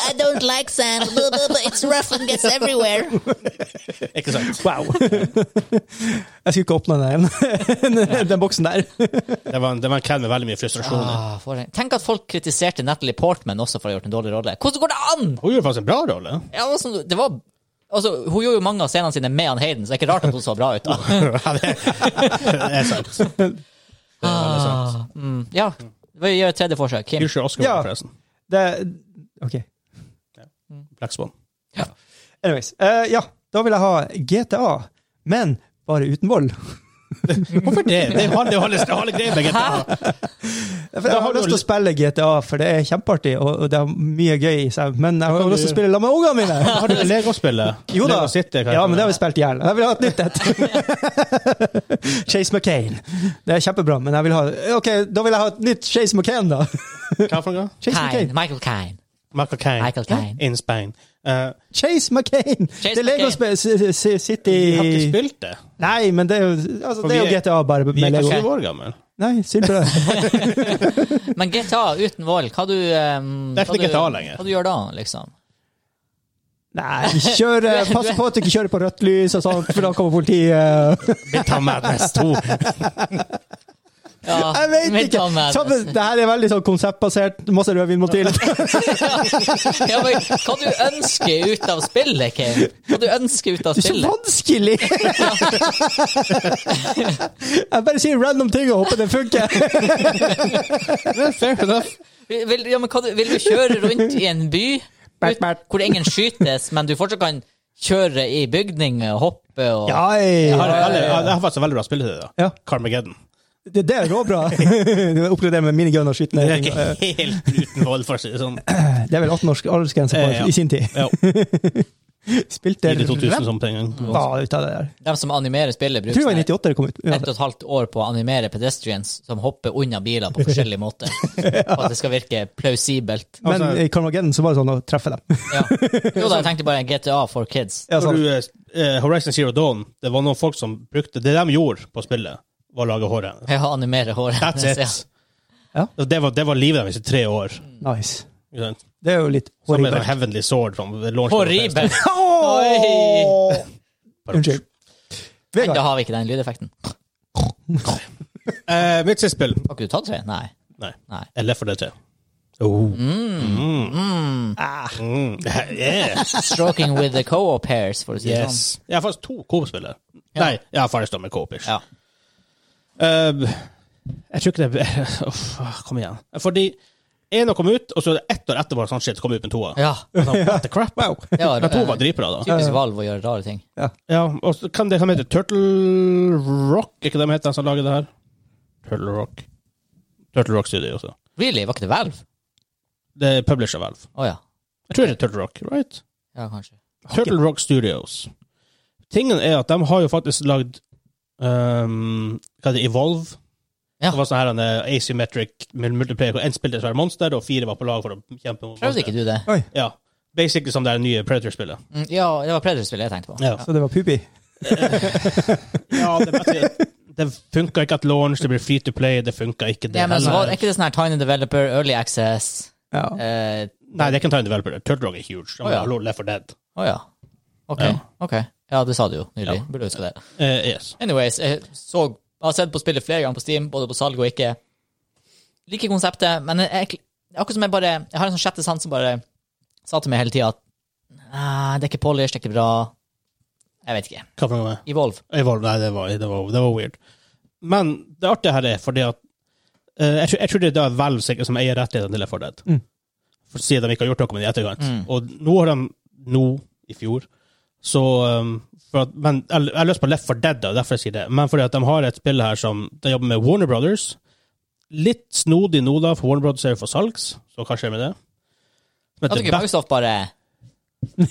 I don't like sand. It's rough and gets everywhere. Ikke sant? Wow. jeg skulle ikke åpne den, den, den boksen der. Det var en, det var en kveld med veldig mye frustrasjoner. Ah, for en- Tenk at folk kritiserte Natalie Portman også for å ha gjort en dårlig rolle. Hvordan går det an?! Hun gjorde faktisk en bra rolle. Ja, altså, det var... Altså, hun gjorde jo mange av scenene sine med han Hayden, så det er ikke rart at hun så bra ut. da. Ja, det, det er sant. Det er Ah. veldig sant. Mm, ja, vi gjør et tredje forsøk. Kim. Future Oscar, Ja. forresten. Det, ok. Black Swan. Anyways. eh, ja, da vil jeg ha GTA, men bare uten vold. Hvorfor det? Det er halve, det er halve, det er halve greia med GTA. For jeg har har du lyst til å litt- spille GTA, for det er kjempeartig, og og det er mye gøy i seg. Men jeg har kan jo lyst til å du- spille sammen med ungene mine! Har du Lego-spillet? Jo da. Lego City, hva Ja, men det har heter vi spilt i hjel. Jeg vil ha et nytt et. Chase McCain. Det er kjempebra, men jeg vil ha Ok, da vil jeg ha et nytt Chase McCain, da. Hva for noe? Chase Kine, McCain. Michael Kine. Michael Caine. Michael Caine. In Spain. Eh, Chase McCain! Chase det er Lego McCain. Sp- S- S- City vi har ikke spilt det. Nei, men det er jo, altså, For det er vi jo er- GTA, bare Vi med er Lego. ikke 20 år gamle. Nei, synd på det. Men GTA uten vold, hva du ehm, Det er hva ikke du- GTA lenger. Hva du gjør da, liksom? Nei, kjør, eh, pass på at du ikke kjører på rødt lys og sånt, for da kommer politiet. Vi tar Madness 2. Ja, Jeg vet ikke! Midtown Samme, det her er veldig sånn konseptbasert. Masse rødvin må til. ja, men, hva du ønsker ut av spillet, Kim? Hva du ønsker ut av Det er så spillet? vanskelig! jeg bare sier random ting og håper det funker. Fair enough. Vil, ja, men hva du, vil du kjøre rundt i en by Bert, ut, Bert. hvor ingen skytes, men du fortsatt kan kjøre i bygninger og hoppe og Ja, Jeg har, jeg- jeg har, jeg har faktisk en veldig bra spilletid. da. Ja. Carmageddon. det, det er råbra. Oppgradere med minigun og skyte Det ned er ting. ikke helt uten vold, for å si det sånn. Det er vel 18 års aldersgrense på Eh, ja. i sin tid. Ja, Spilte tidlig 2000 ræva som ting. ut av det der. De som animerer spillet, Jeg tror det var i bruker sånn 98 det kom ut. her ett og et halvt år på å animere pedestrians som hopper unna biler på forskjellige måter. For at det skal virke plausibelt. Men Altså- i Carmageddon så var det sånn å treffe dem. Ja. Jo da, jeg tenkte bare GTA for kids. Ja, Når sånn. du, eh, Horizon Zero Dawn, det var noen folk som brukte Det de gjorde på spillet, var å lage håret. Jeg animerer håret. That's it. Ja. Og Det, var, det var livet deres i tre år. Nice. Ikke sant? Det er jo litt Som med horribelt. sånn Heavenly Sword. Som launched på PlayStation. Horribelt! Åh! Oi. Unnskyld. Men Da Vegard, har vi ikke den lydeffekten. Eh, mitt siste spill Har ikke du tatt tre? Nei. Nei. Nei. Mm. Eller for det tre. Oh. Ah. Mm. Yeah. Stroking with the co-op hairs, for å si det Yes. Jeg har faktisk to Coop-spillere. Nei, jeg har faktisk med Coop-ish. sånn. Ja. Ehm, jeg tror ikke det Uff, Kom igjen. Fordi én kom ut, og så er det ett år etterpå sånn shit, kom ut med toa. Ja. Sånn, What the crap? Wow. Det var, Men to var eh, dritbra, da. Typisk Valve å gjøre rare ting. Ja, og så kan det som heter Turtle Rock Er ikke det de heter, de som lager det her? Turtle Rock. Turtle Rock Studio altså. også. Really? Var ikke det Valve? Det er publisher Valve. Å ja. Jeg tror det er Turtle Rock, right? Ja, kanskje. Turtle Rock Studios. Tingen er at de har jo faktisk lagd ehm, Hva heter det, Evolve? Ja. Det var sånn her en eh, asymmetric mul- multiplayer hvor én spilte et svært monster, og fire var på lag for å kjempe mot Prøvde ikke du det? Ja. basically som det her nye Predator-spillet. Mm, ja, det var Predator-spillet jeg tenkte på. Ja. Så det var Pupi. Ja, det, beste- det funka ikke at launch, det blir free to play, det funka ikke det Ja, men så var heller. det ikke det sånn her Tiny Developer, Early Access Ja. Å eh, Nei, det er ikke en time developer. Turtle Rock er huge. De Å, ja. har lov- Left 4 Dead. å ja. Ok. Ja. ok. Ja, det sa du jo nylig. Ja. Burde huske det. Eh, yes. Anyways, jeg, så, jeg har sett på spillet flere ganger på Steam, både på salg og ikke. Liker konseptet, men jeg, jeg, det er akkurat som jeg bare Jeg har en sånn sjette sans som bare sa til meg hele tida at «Nei, det er ikke polish, det er ikke bra. Jeg vet ikke. Hva for noe? Evolve. Evolve, nei, det var, det, var, det var weird. Men det artige her er fordi at eh, jeg, tror, jeg tror det er da Valve sikkert som eier rettighetene til Left 4 Dead. Mm. For siden de ikke har gjort noe med det i etterkant. Mm. Og nå har de Nå, i fjor, så um, for at, men, Jeg jeg har lyst på Left 4 Dead, da, derfor jeg sier det. Men fordi at de har et spill her som De jobber med Warner Brothers. Litt snodig nå, da, for Warner Brothers er jo for salgs, så hva skjer med det? Men At det ikke Microsoft bare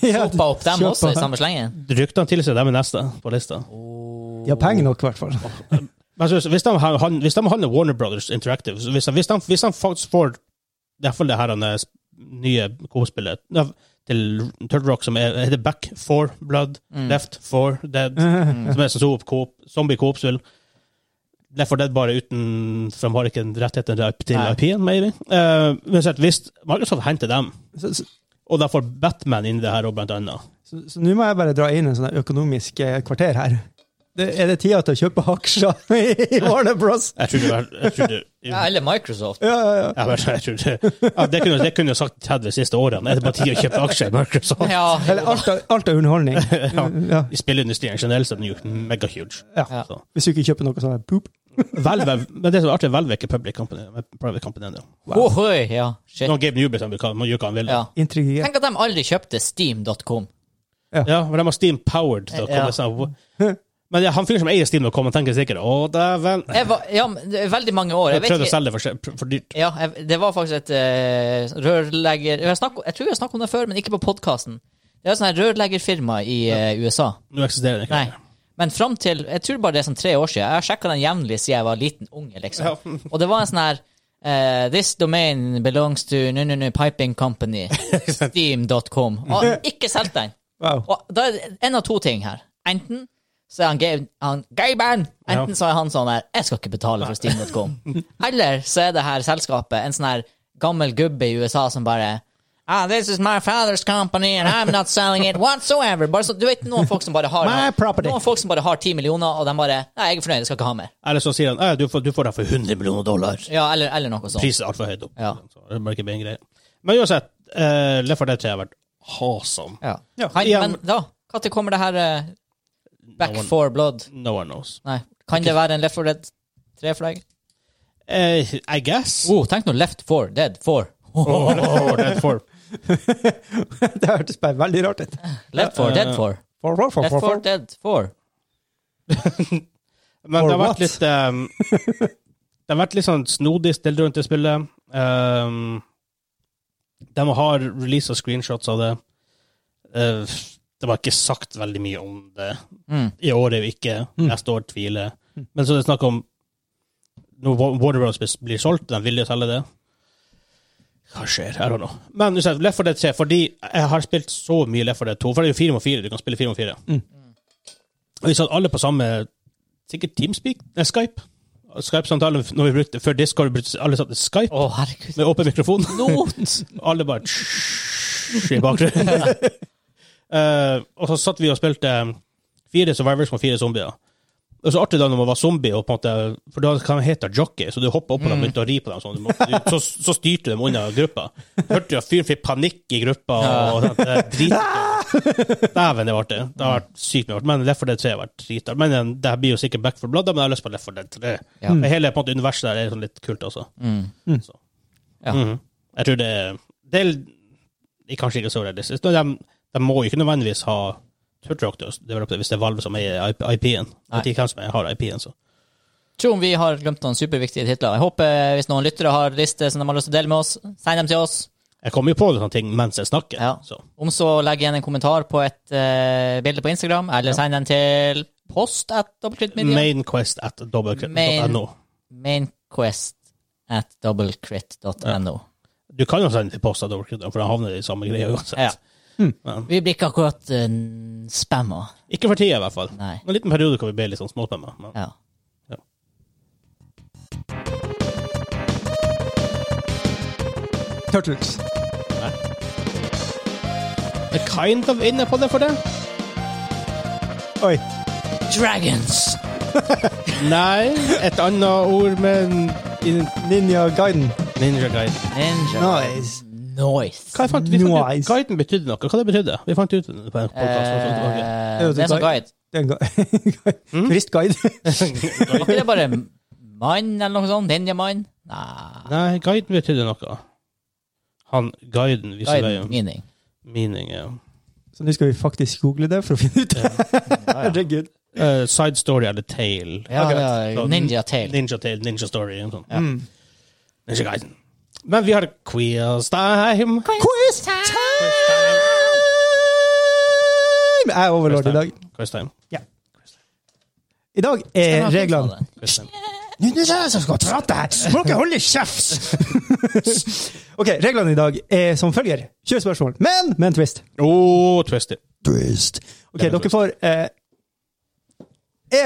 Ja, hoppa opp dem kjøpa. også liksom. i samme slengen. ryktene tilsier dem er neste på lista. De har penger nok, i hvert fall. Men så, hvis, de, har- han- hvis de handler Warner Brothers Interactive, så hvis de, hvis de, hvis de faktisk får i hvert fall det her han, eh, sp- nye kospillet til Turtle Rock som er, heter Back for Blood, Mm. Left for Dead, som er sånn zoop- coop, zombie coop-spill. Left for Dead bare uten For de har ikke rettighetene til IP- til Nei. IP-en, maybe. Eh, men så at hvis Microsoft henter dem, Så så- og de får Batman inn i det her òg, blant annet så- så nå må jeg bare dra inn en sånn økonomisk eh, kvarter her. Det, er det tida til å kjøpe aksjer i Warner Bros? Jeg tror det var- jeg tror det- Ja, eller Microsoft. Ja, ja, ja. Ja, men jeg tror det, ja, det, kunne, det kunne jeg sagt 30 siste årene. Er det på tide å kjøpe aksjer i Microsoft? Ja, Eller alt av, alt av underholdning. Ja. I spilleindustrien generelt så er den jo megahuge. Ja. Så. Hvis du ikke kjøper noe sånn her, poop. Valve, er- men det som er artig, Valve er ikke public company, men private company ennå. Ohoi, ja. Shit. Nå Gabe Newby må gjøre hva han vil. Ja. Intrigert. Tenk at de aldri kjøpte steam.com. Ja, for de har Steam Powered. Da, Ja. kommer det sånn, men ja, han fyren som eier Steam, nå kommer han tenker sikkert Å, dæven. Jeg var- Ja, men det er veldig mange år. Jeg Jeg vet prøvde å ikke selge det for, se- for dyrt. Ja, jeg, det var faktisk et eh, rørlegger... Jeg, har snakket- jeg tror vi har snakket om det før, men ikke på podkasten. Det er et sånt her rørleggerfirma i eh, USA. Nå eksisterer den ikke. Nei. Men fram til Jeg tror bare det er sånn tre år siden. Jeg har sjekka den jevnlig siden jeg var liten unge, liksom. Og det var en sånn her eh, This domain belongs to nu, nu, nu, piping company. Steam.com. Og ikke solgt den. Wow. Og da er det en av to ting her. Enten så er han, Gabe- han Gaben. Enten Ja. så er han sånn her Jeg skal ikke betale for Steam.com. Eller så er det her selskapet en sånn her gammel gubbe i USA som bare Ah, this is my father's company, and I'm not selling it whatsoever. Bare så, du vet noen folk som bare har My property. Noen folk som bare har ti millioner, og de bare Nei, jeg er fornøyd, jeg skal ikke ha mer. Eller så sier han «Eh, du får, du får det for 100 millioner dollar. Ja, eller, eller noe sånt. Prisen er altfor høyt opp. Ja. Så det bør ikke bli en greie. Men uansett, uh, Left 4 Dead 3 har vært awesome. Ja. Ja. Kan, Ja, men da, når kommer det her eh, Back No one- for blood? No one knows. Nei. Kan det være en Left 4 Dead 3 for deg? Eh, I guess. Oh, tenk nå Left 4 Dead 4. Oh, Left 4 Dead 4. Det hørtes bare veldig rart ut. Left 4 Dead 4. For, for, for, Left 4 for, for. Dead 4. Men Or det har what? vært litt ehm, Det har vært litt sånn snodig stille rundt i spillet. Ehm, de har releasa screenshots av det. Eh, det var ikke sagt veldig mye om det. Mm. I år er vi ikke. Neste år tviler. Men så er det snakk om Når Wa- Warner Bros. blir- blir solgt, de vil jo selge det. Hva skjer? I don't know. Men uansett, Left 4 Dead 3, fordi jeg har spilt så mye Left 4 Dead 2, for det er jo fire mot fire. Du kan spille fire mot fire. Mm. Og vi satt alle på samme Sikkert Teamspeak? Nei, Skype. Skype-samtale når vi brukte, før Discord brukte alle satt i Skype Å, herregud. med åpen mikrofon. Not! Alle bare tsj i bakgrunnen. Eh, og så satt vi og spilte eh, fire survivors mot fire zombier. Og så artig da når man var zombie, og på en måte, for da kan man hete jockey, så du hoppa opp på dem og begynte å ri på dem. Sånn. Du måtte, du, så, så styrte du dem unna gruppa. Hørte du at fyren fikk panikk i gruppa. og sånt, det er drit. Dæven, det var artig. Det har vært sykt mye artig. Men Left 4 Dead 3 har vært dritartig. Men eh, det her blir jo sikkert Back 4 Blood, da, men jeg har lyst på Left 4 Dead 3. Ja. Men Hele på en måte, universet der er sånn litt kult, altså. Så. Ja. Mhm. Jeg tror det er Det er det er kanskje ikke så realistisk. De, de må jo ikke nødvendigvis ha Turtrock til å develope det hvis det er Valve som eier IP- IP-en. Nei. Vet ikke hvem som har IP-en, så. Tror om vi har glemt noen superviktige titler. Jeg håper eh, hvis noen lyttere har lister som de har lyst til å dele med oss, send dem til oss. Jeg kommer jo på sånne ting mens jeg snakker. Ja. Så. Om så legg igjen en kommentar på et eh, bilde på Instagram, eller send den til post at dobbeltkrittmedia. Mainquest at Main- dobbeltkritt.no. Mainquest at dobbeltkritt.no. Du kan jo sende til post at dobbeltkritt, for da havner det i samme greia uansett. Ja. Men, Vi blir ikke akkurat uh, spamma. ikke for tida, i hvert fall. Nei. En liten periode hvor vi ble litt sånn småspamma. men- Ja. Ja. Turtles. Jeg er kind of inne på det for det. Oi. Dragons! Nei, et annet ord med en- i- Ninja Guiden. Ninja Guide. Ninja. Nice. Nice. Hva jeg fant, vi fant ut, Nice. guiden betydde noe. Hva det betydde? Vi fant ut på en podcast. Eh, det er som guide. Mm. Det er en guide. Turistguide. Var ikke det bare mann eller noe sånt? Ninjamann? Nei. Nei, guiden betydde noe. Han, guiden viser Guide veien. meaning. Meaning, ja. Så nå skal vi faktisk google det for å finne ut det. Herregud. Eh, side story eller tale. Ja, Akkurat. ja, Så, ninja tale. Ninja tale, ninja story. en Sånn. Mm. Ninja guiden. Men vi har quiz time. Quiz time! Jeg er overlord i dag. Quiz time. Ja. I dag eh, er reglene Quiz time. Nå er det jeg som skal prate her! Må dere holde kjeft! ok, reglene i dag er som følger. 20 spørsmål, men med en twist. Åh, Oh, twisty. Twist. Ok, Det er en dere twist. får eh,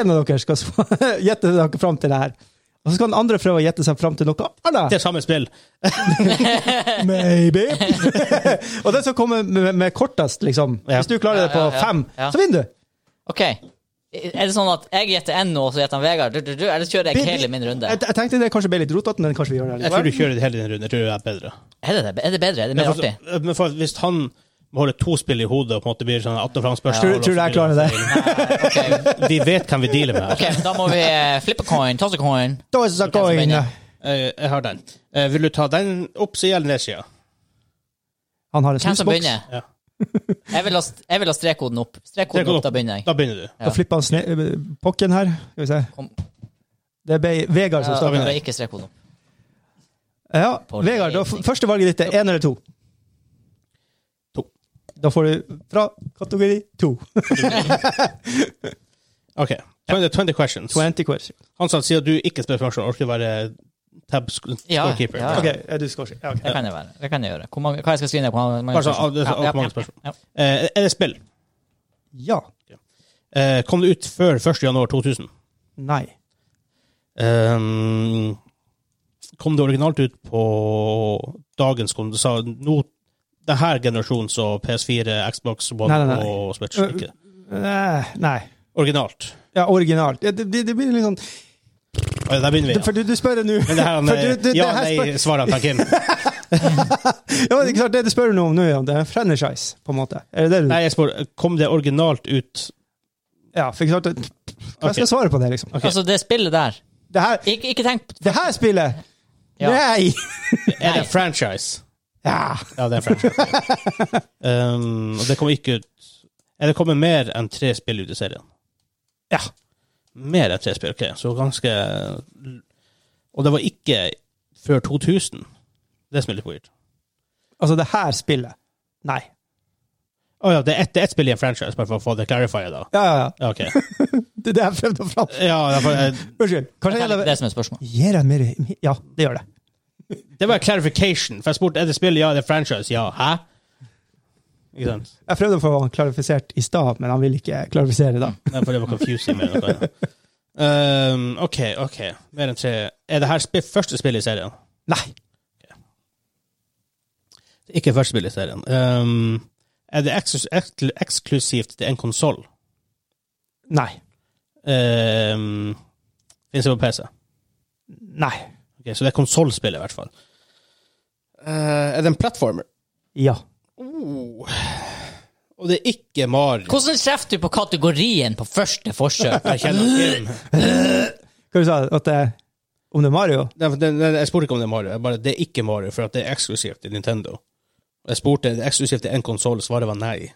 En av dere skal sva- gjette dere fram til det her. Og så skal den andre prøve å gjette seg fram til noe Det annet. er samme spill. Maybe. og den som kommer med, med kortest, liksom. Ja. Hvis du klarer det på Ja, ja, ja. fem, Ja. så vinner du. OK. Er det sånn at jeg gjetter én nå, og så gjetter han Vegard? Du, du, du, eller kjører jeg hele min Eh, runde? Jeg, jeg tenkte det kanskje ble litt rotete, men kanskje vi gjør det Jeg tror du likevel. kjører hele din runde. Jeg tror det er bedre. Er det, det? Er det bedre? Er det mer Men for- eh, artig? Men for, hvis han må holde to spill i hodet og på en måte blir sånn 18 fransk spørsmål Tror- tror du jeg klarer det? Ok, Vi vet hvem vi dealer med her. ok, da må vi eh, flippe coin, toss a coin. Da er det som coin. vinner. Eh, jeg har den. Eh, vil du ta den opp sida eller ned sida? Han har en Hvem som snusboks. begynner? Ja. Jeg vil ha, st- jeg vil ha strekkoden opp. Trekk Strekkoden den opp, da begynner jeg. Da begynner du. Ja. Da flipper han sne eh, pokken her. Skal vi se. Kom. Det ble Vegard som Ja, da starter. blir ikke strekkoden opp. Ja, På Vegard, da, f- første valget ditt er én eller to. To. Da får du fra kategori to. OK. 20, 20 questions. 20 questions. Han sa siden du ikke spør spørsmål, orker du være tab sc- Ja, scorekeeper. ja. OK, er du scorer. Ja, ok. Det kan jeg være. Det kan jeg gjøre. Hvor mange, hva jeg skal skrive ned? Hvor mange, Bare sånn, ah, det er så alt for mange spørsmål. Ja, Eh, er det spill? ja. Eh, kom det ut før 1. januar 2000? Nei. Eh, kom det originalt ut på dagens kom, du sa, nå, det her generasjonen, så PS4, Xbox One Nei, nei, nei. og Switch? Eh, Ikke. Eh, Nei. Originalt. Ja, originalt. Ja, det, det, det blir litt sånn Oi, Der begynner vi. Ja. For du, du spør nå Men det her for du- med du- det her spør- ja-nei-svarene til Kim Ja, men det er klart, det du spør nå om nå, ja, det er en franchise, på en måte. Er det det du Nei, jeg spør, kom det originalt ut Ja, for ikke sant det- Hva skal Ok. jeg svare på det, liksom? ja. Altså, det spillet der Det her, Ikke, ikke tenk på det her spillet! Ja. Nei! Er det en franchise? Ja. Ja, det er en franchise. um, og det kommer ikke ut Er det kommet mer enn tre spill ut i serien? ja. Mer enn tre spill, OK. Så ganske Og det var ikke før 2000. Det som er litt weird. Altså, det her spillet. Nei. Å ja, det er ett et spill i en franchise, bare for å få det clarified, da. Ja, ja, ja. Ja, OK. Det er det jeg prøvde å fram. Ja, derfor, eh, Unnskyld. Kanskje det. jeg Det som er spørsmålet. Gir jeg mer Ja, det gjør det. det var clarification. For jeg spurte er det spill, ja, det er franchise, ja. Hæ? Ikke sant? Jeg prøvde å få han klarifisert i stad, men han vil ikke klarifisere da. Nei, for det var confusing med noe annet. Um, OK, OK. Mer enn tre. Er det her spi første spillet i serien? Nei. Ikke første spillet i serien. Um, er det eksus- eksklu- eksklusivt til en konsoll? Nei. Um, Fins det på PC? Nei. Ok, så det er konsollspill, i hvert fall. Uh, er det en plattformer? Ja. Oh. Og det er ikke Mario. Hvordan treffer du på kategorien på første forsøk? Jeg kjenner Kim. Hva du sa du? At det Om det er Mario? Nei, for det- nei, Jeg spurte ikke om det er Mario. Jeg bare, det er ikke Mario, for at det er eksklusivt til Nintendo. Jeg spurte er det eksklusivt til en konsoll, svaret var nei.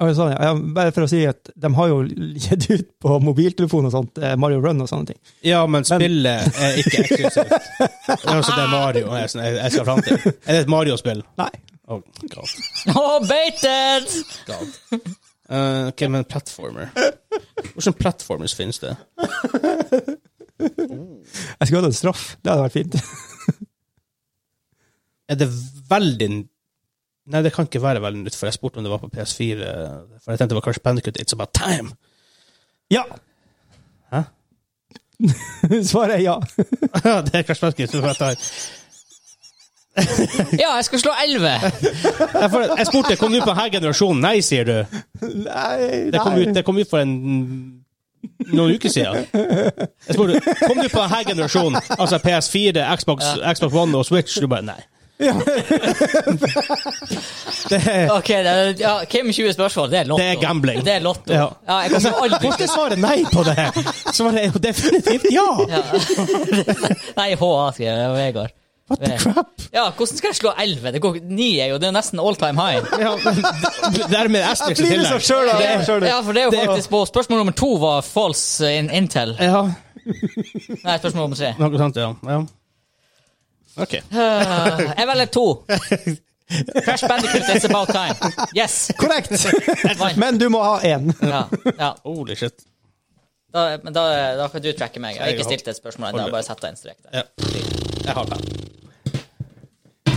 Ja, sånn, ja. Ja, Bare for å si at de har jo gitt ut på mobiltelefon og sånt, eh, Mario Run og sånne ting. Ja, men spillet er ikke eksklusivt. Det er også det Mario jeg, jeg, jeg skal fram til. Er det et Mario-spill? Nei. Oh, god. oh, baited! god. Eh, ok, men platformer. Hvordan platformers finnes det? Jeg skulle hatt en straff. Det hadde vært fint. Er det veldig Nei, det kan ikke være veldig nytt, for jeg spurte om det var på PS4. For jeg tenkte det var Crash Bandicoot, It's About Time. Ja! Hæ? Svaret er ja. det er Crash Bandicoot, It's About Time. Ja, jeg skal slå 11! Jeg, for, jeg spurte kom det ut på denne generasjonen. Nei, sier du. Nei, Det kom, ut, det kom ut for en noen uker siden. Jeg spurte kom det ut på denne generasjonen, altså PS4, Xbox, Xbox One og Switch. Du bare nei. Ok, det er, ja, Kim 20 spørsmål, det er lotto. Det er gambling. Det er lotto. Ja. Ja, jeg kommer aldri Hvorfor svarer nei på det? Svaret er jo definitivt ja! ja. Nei, HA, skriver jeg, og Vegard. What the crap? Ja, hvordan skal jeg slå 11? Det går 9 er jo det er nesten all time high. Ja, men, dermed Asterix i Blir det sånn tillegg. sjøl, da? Skjøl det. Ja, for det er jo faktisk på Spørsmål nummer to var false eh, in Intel. Ja, Nei, spørsmål nummer tre. noe sånt, ja. ja. Ok. Øh, jeg velger to. Crash Bandicoot, it's about time. Yes. Korrekt! Vant. Men du må ha én. Ja, ja. Holy shit. Da, men da, da kan du tracke meg. Jeg har ikke stilt et spørsmål ennå. jeg har Bare sett deg en strek der. Ja. Jeg har den.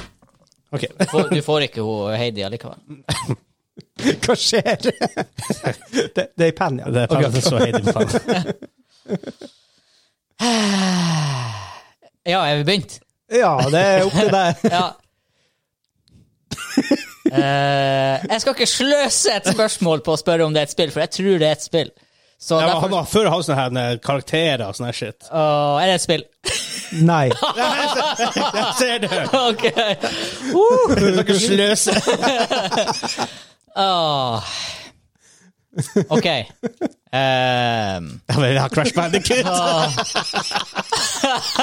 Ok. Du får, du får ikke hun Heidi allikevel. Hva skjer? Det, det er i penn, ja. Det er Ok. faktisk så heidig på faen. Ja, er vi begynt? Ja, det er opp til deg. Ja. Eh, jeg skal ikke sløse et spørsmål på å spørre om det er et spill, for jeg tror det er et spill. Så Ja, men derfor han var før han sånne her eh, karakterer og sånn her shit. Åh, Er det et spill? Nei. Jeg ser det! OK. Dere sløser. Åh. OK. Ehm, Jeg vil ha Crash Bandicoot.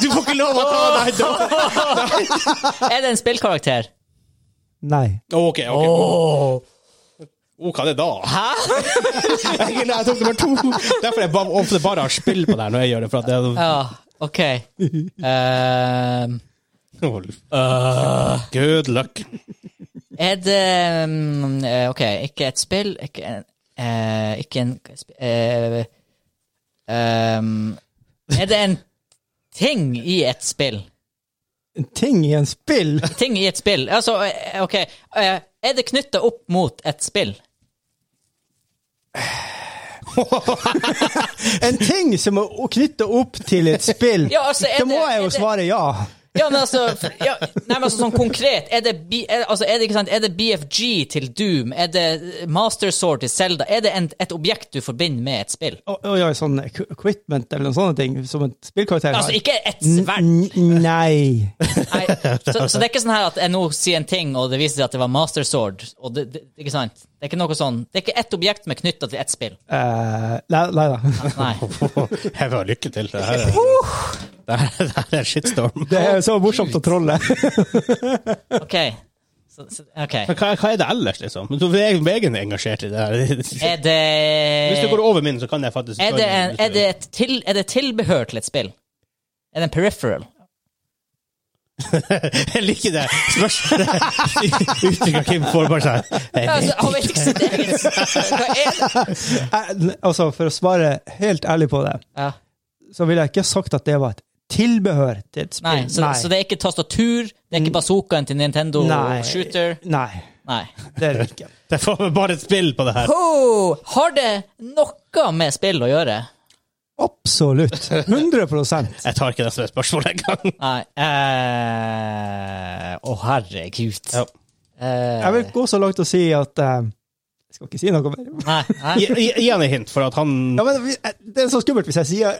Du får ikke lov å ta deg da! er det en spillkarakter? Nei. Ok, ok. Oh, hva er det da? Hæ? jeg, nei, jeg tok nummer to. Derfor jeg bare, ofte bare har spill på det her når jeg gjør det. For at det Ja, OK. Ehm, Good luck. er det mm, eh, OK, ikke et spill, ikke en eh, Ikke en eh, ehm, Er det en ting i et spill? En ting i en spill? Ting i et spill? Altså, eh, OK. eh, er det knytta opp mot et spill? En ting som er å knytte opp til et spill? Ja, altså, er Da må det- jeg er jo det- svare ja. Ja, men altså, f- ja, nei, men altså sånn konkret, er det, B, er, altså, er, det, ikke sant, er det BFG til Doom? Er det Master Sword til Zelda? Er det en, et objekt du forbinder med et spill? Å å gjøre sånn equipment eller noen sånne ting som en spillkarakter Altså, ikke et sverd. N- n- Nei. Nei, så, så det er ikke sånn her at jeg nå sier en ting, og det viser seg at det var Master Sword. Og det, det, ikke sant? Det er ikke noe sånn, det er ikke ett objekt som er knytta til ett spill. Eh, nei, nei da. Nei. Jeg vil ha lykke til. Det her er, det her, det her er shitstorm. Det er så morsomt å trolle. OK. Så, så, ok. Men hva, hva er det ellers, liksom? Men så er jeg egen engasjert i det her. Er det Hvis du går over min, så kan jeg faktisk Eh, er det, en, er, det et til, er det tilbehør til et spill? Er det en peripheral? Jeg liker det. Spørsmålet Uttrykket Kim får bare Ja, sånn altså, han vet ikke sitt eget Hva er det? Eh, n- altså, for å svare helt ærlig på det, Ja. så ville jeg ikke sagt at det var et tilbehør til et Nei, spill. så, så det er ikke tastatur, det er Mm. ikke bazookaen til Nintendo Nei. Shooter. Nei, Nei. det er det ikke. Det får meg bare et spill på det her. Oh, har det noe med spill å gjøre? Absolutt. 100 Jeg tar ikke det som et spørsmål engang. Nei. eh, Å, herregud. Ja. Eh, Jeg vil gå så langt og si at eh, Jeg skal ikke si noe mer. Nei, nei. Gi gi han et hint, for at han Ja, men vi- eh, det er så skummelt hvis jeg sier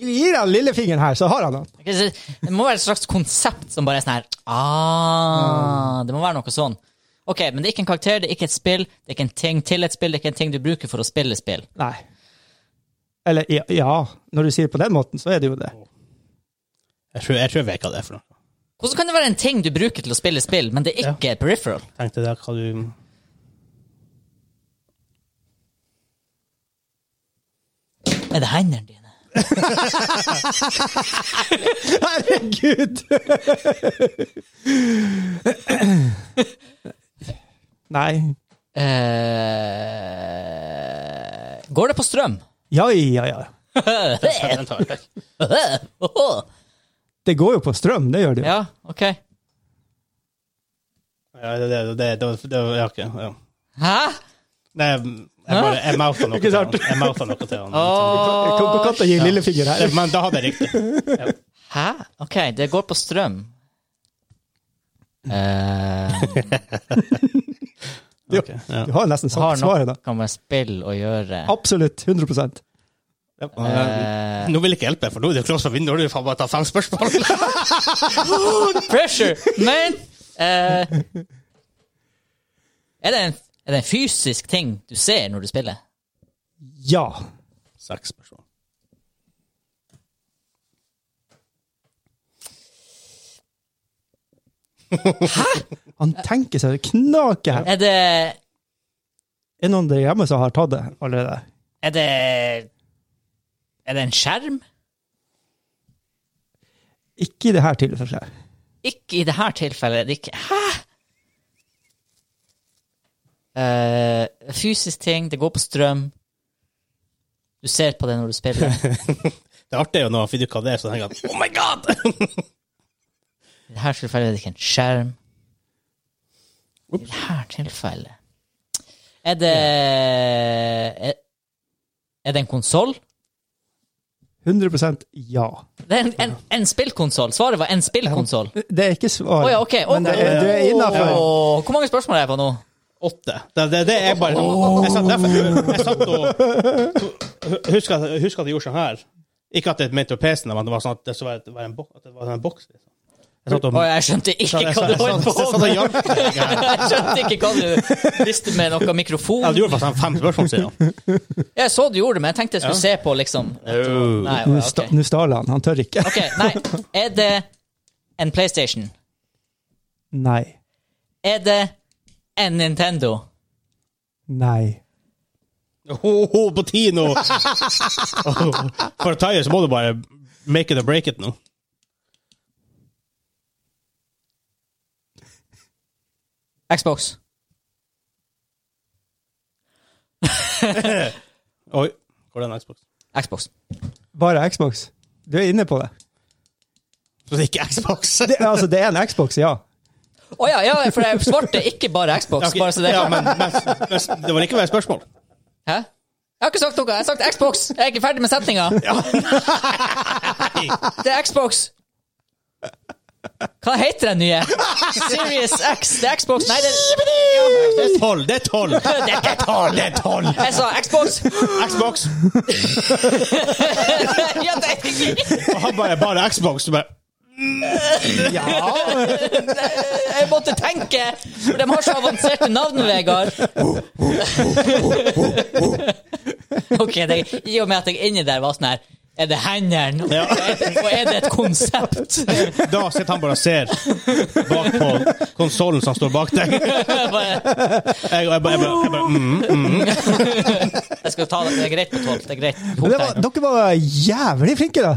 Gir han lillefingeren her, så har han den. Ok, så Det må være et slags konsept som bare er sånn her ah, Det må være noe sånn. Ok, men det er ikke en karakter, det er ikke et spill, det er ikke en ting til et spill, det er ikke en ting du bruker for å spille spill. Nei. Eller ja, ja, når du sier det på den måten, så er det jo det. Jeg tror jeg, tror jeg vet hva det er for noe. Hvordan kan det være en ting du bruker til å spille spill, men det er ikke peripheral? Tenkte det, hva du Er det hendene dine? Herregud! Nei. Eh, går det på strøm? Ja, ja, ja. Den tar jeg. Åhå. Det går jo på strøm, det gjør det jo. ja, ok. Ja, det, det, det, det, det ja, ok, ja. Hæ? Nei, jeg, jeg bare jeg moutha noe Ikke til sant? han. Jeg moutha noe til han. K- Åh, Katta gir lillefinger her. Eh, Men da hadde jeg riktig. Hæ? OK, det går på strøm. Eh, Du, Ok, ja. du har nesten har sagt svaret, da. noe med spill å gjøre. Absolutt. 100 Eh, Nå vil jeg ikke hjelpe, for nå er det close for vinduet. og Du får bare ta fem spørsmål. pressure! Men eh, er, det en, er det en fysisk ting du ser når du spiller? Ja. Seks spørsmål. Han tenker seg knake her. Er det Er det noen der hjemme som har tatt det allerede? Er det Er det en skjerm? Ikke i det her tilfellet. Ikke i det her tilfellet. er Det ikke Hæ?! Eh, fysisk ting, det går på strøm. Du ser på det når du spiller. Det artige er jo når han finner ut hva det er, så tenker han oh my god! I dette tilfellet er det ikke en skjerm. I dette tilfellet Er det er, er det en konsoll? 100 ja. Det er en, en, en spillkonsoll. Svaret var en spillkonsoll. Å Det er ikke svaret. ja, ok. Men det er, Å, du er innafor. å, Hvor mange spørsmål er jeg på nå? Åtte. Det, det, det er bare Jeg satt derfor Jeg satt og Husk at, husk at jeg gjorde sånn her. Ikke at det mente å pese, men det var sånn at det skulle være- det var en, bok, at det var en boks. Liksom. Jeg satt og Å, jeg skjønte ikke jeg hva du satt- jeg holdt satt- på Sånn, jeg satt og med. hjalp deg. Jeg skjønte ikke hva du visste med noe mikrofon. Ja, du gjorde faktisk sånn fem spørsmål siden. Jeg så du gjorde det, men jeg tenkte jeg skulle se på, liksom. Nei, Nå ok. sta- nå stjal han. Han tør ikke. ok. Nei, er det en PlayStation? Nei. Er det en Nintendo? Nei. Ho, ho, på ti nå! For å ta i så må du bare make it or break it nå. Xbox? Oi. Hvor er den Xbox? Xbox. Bare Xbox. Du er inne på det. Så det er ikke Xbox? det altså, det er en Xbox, ja. Å ja, ja, for jeg svarte ikke bare Xbox. Ok, Bare så det er ja, klart. men, men, men det var likevel et spørsmål. Hæ? Jeg har ikke sagt noe. Jeg har sagt Xbox. Jeg er ikke ferdig med setninga. Det er Xbox. Hva heter den nye? Serious X. Det er Xbox. Nei, det Det er tolv! Det er tolv! Det er ikke tolv! Det er tolv! Jeg sa Xbox. Xbox. Ja, det er ikke- Og han bare bare Xbox. Du bare Jeg måtte tenke. For de har så avanserte navn, Vegard. Ok, det, I og med at jeg inni der var sånn her Er det hendene? Ja. Og er det et konsept? Da sitter han bare og ser bak på konsollen som står bak deg. Jeg, Jeg bare jeg bare, jeg bare, jeg bare mm. Jeg skal ta det. Det er greit på tolv. Det er greit. Men det var, dere var jævlig flinke, da.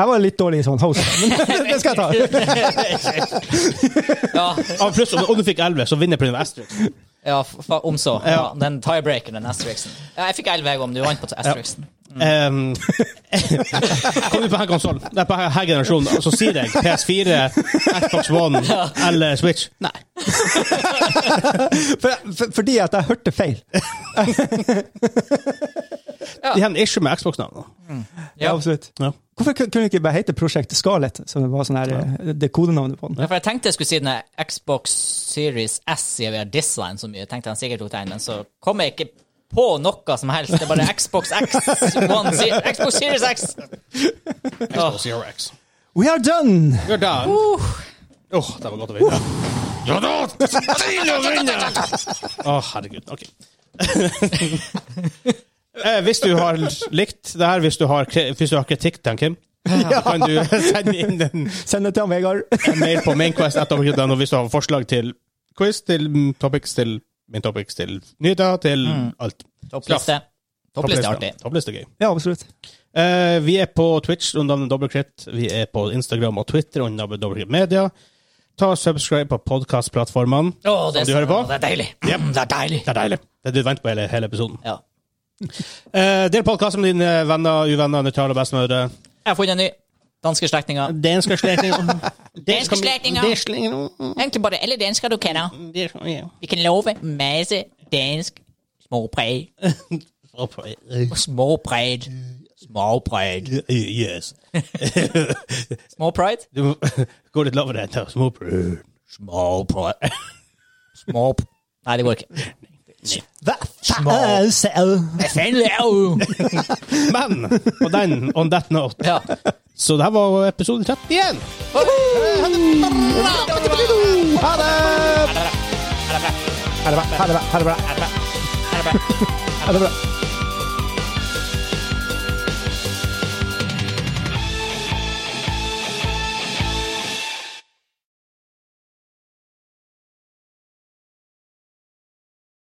Jeg var litt dårlig i sånn host, men det skal jeg ta. ja, Ja, pluss, om, om du fikk 11, så vinner Prince Asterix. ja fa, om så. Ja, den tiebreakeren, den Asterixen. Ja, jeg fikk elleve, jeg om du vant på Asterixen. Um, kom ut på her konsollen, det er på her generasjonen, og så sier jeg PS4, Xbox One eller Switch. Nei. For, for, fordi at jeg hørte feil. De har en issue med Xbox-navnet. Ja. Absolutt. Ja. Hvorfor kun- kunne det ikke bare hete Prosjekt Scarlett, som var sånn her, eh, det kodenavnet på den? Ja, for jeg tenkte jeg skulle si den der Xbox Series S, siden vi har dissa den så mye. Jeg tenkte han sikkert tok den, men så kom jeg ikke på noe som helst. Det er bare Xbox X One, Se- Xbox Series X. Xbox Zero X. We are done! You're done. Åh, det var godt å vinne. Ja da! Fin å vinne! Å, herregud. Ok. Eh, hvis du har likt det her, hvis du har, kri- hvis du har kritikk til han, Kim, kan du sende inn en Send det til han, Vegard. en mail på mainquest.no hvis du har forslag til quiz, til mm, topics, til min topics, til nyheter, til alt. Mm. Toppliste. Toppliste er artig. Toppliste er gøy. Ja, absolutt. Eh, vi er på Twitch under navnet Dobbeltkritt. Vi er på Instagram og Twitter under navnet Dobbeltkritt Media. Ta og subscribe på podkastplattformene. Å, det, Som du hører på? å, det er deilig. Yep. Mm, Det er deilig. Det er deilig. Det er det du venter på hele, hele episoden. Ja. Eh, del podkasten med dine venner, uvenner, nøytrale og bestemødre. Jeg har funnet en ny. Danske slektninger. Danske slektninger. Danske slektninger. Danske slektninger. Egentlig bare alle dansker du kjenner. Danske- ja. Vi kan love masse dansk småpræg. Oppe- Småpræg. Småpræg. Yes. Småpride? Du må gå litt lavere enn det. Småbrød. Småbrød. Små... Nei, det går ikke. Hva faen er det? Hva faen laver du? Men på den, on that note Ja. Så det her var episode 31. Ha det! Ha det bra. Ha det bra. Ha det bra. Ha det bra. Ha det bra.